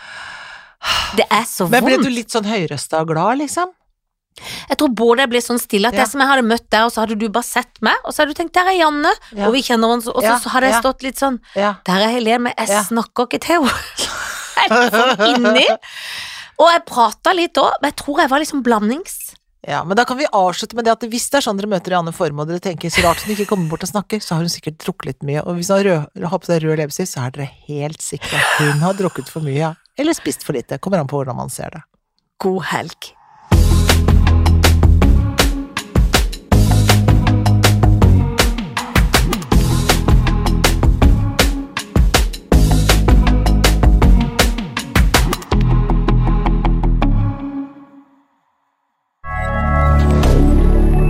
Speaker 1: Det er så
Speaker 2: Men ble
Speaker 1: vondt.
Speaker 2: du litt sånn høyrøsta og glad, liksom?
Speaker 1: Jeg tror både jeg ble sånn stille at
Speaker 2: Ja.
Speaker 1: det som jeg hadde møtt der, og så hadde du bare sett meg, og så hadde du tenkt der er Janne,
Speaker 2: Ja.
Speaker 1: og vi kjenner hverandre, og så,
Speaker 2: Ja,
Speaker 1: så hadde jeg
Speaker 2: ja.
Speaker 1: stått litt sånn
Speaker 2: Ja.
Speaker 1: der er Helene, men jeg
Speaker 2: Ja.
Speaker 1: snakker ikke til henne. Jeg er sånn inni. Og jeg prata litt òg, men jeg tror jeg var liksom blandings.
Speaker 2: Ja, men da kan vi avslutte med det at hvis det er sånn dere møter Janne Formoe og dere tenker så rart hun ikke kommer bort og snakker, så har hun sikkert drukket litt mye. Og hvis hun har, rød, har på seg rød leppestift, så er dere helt sikre at hun har drukket for mye, ja. Eller spist for lite. Kommer an på hvordan man ser det.
Speaker 1: God helg.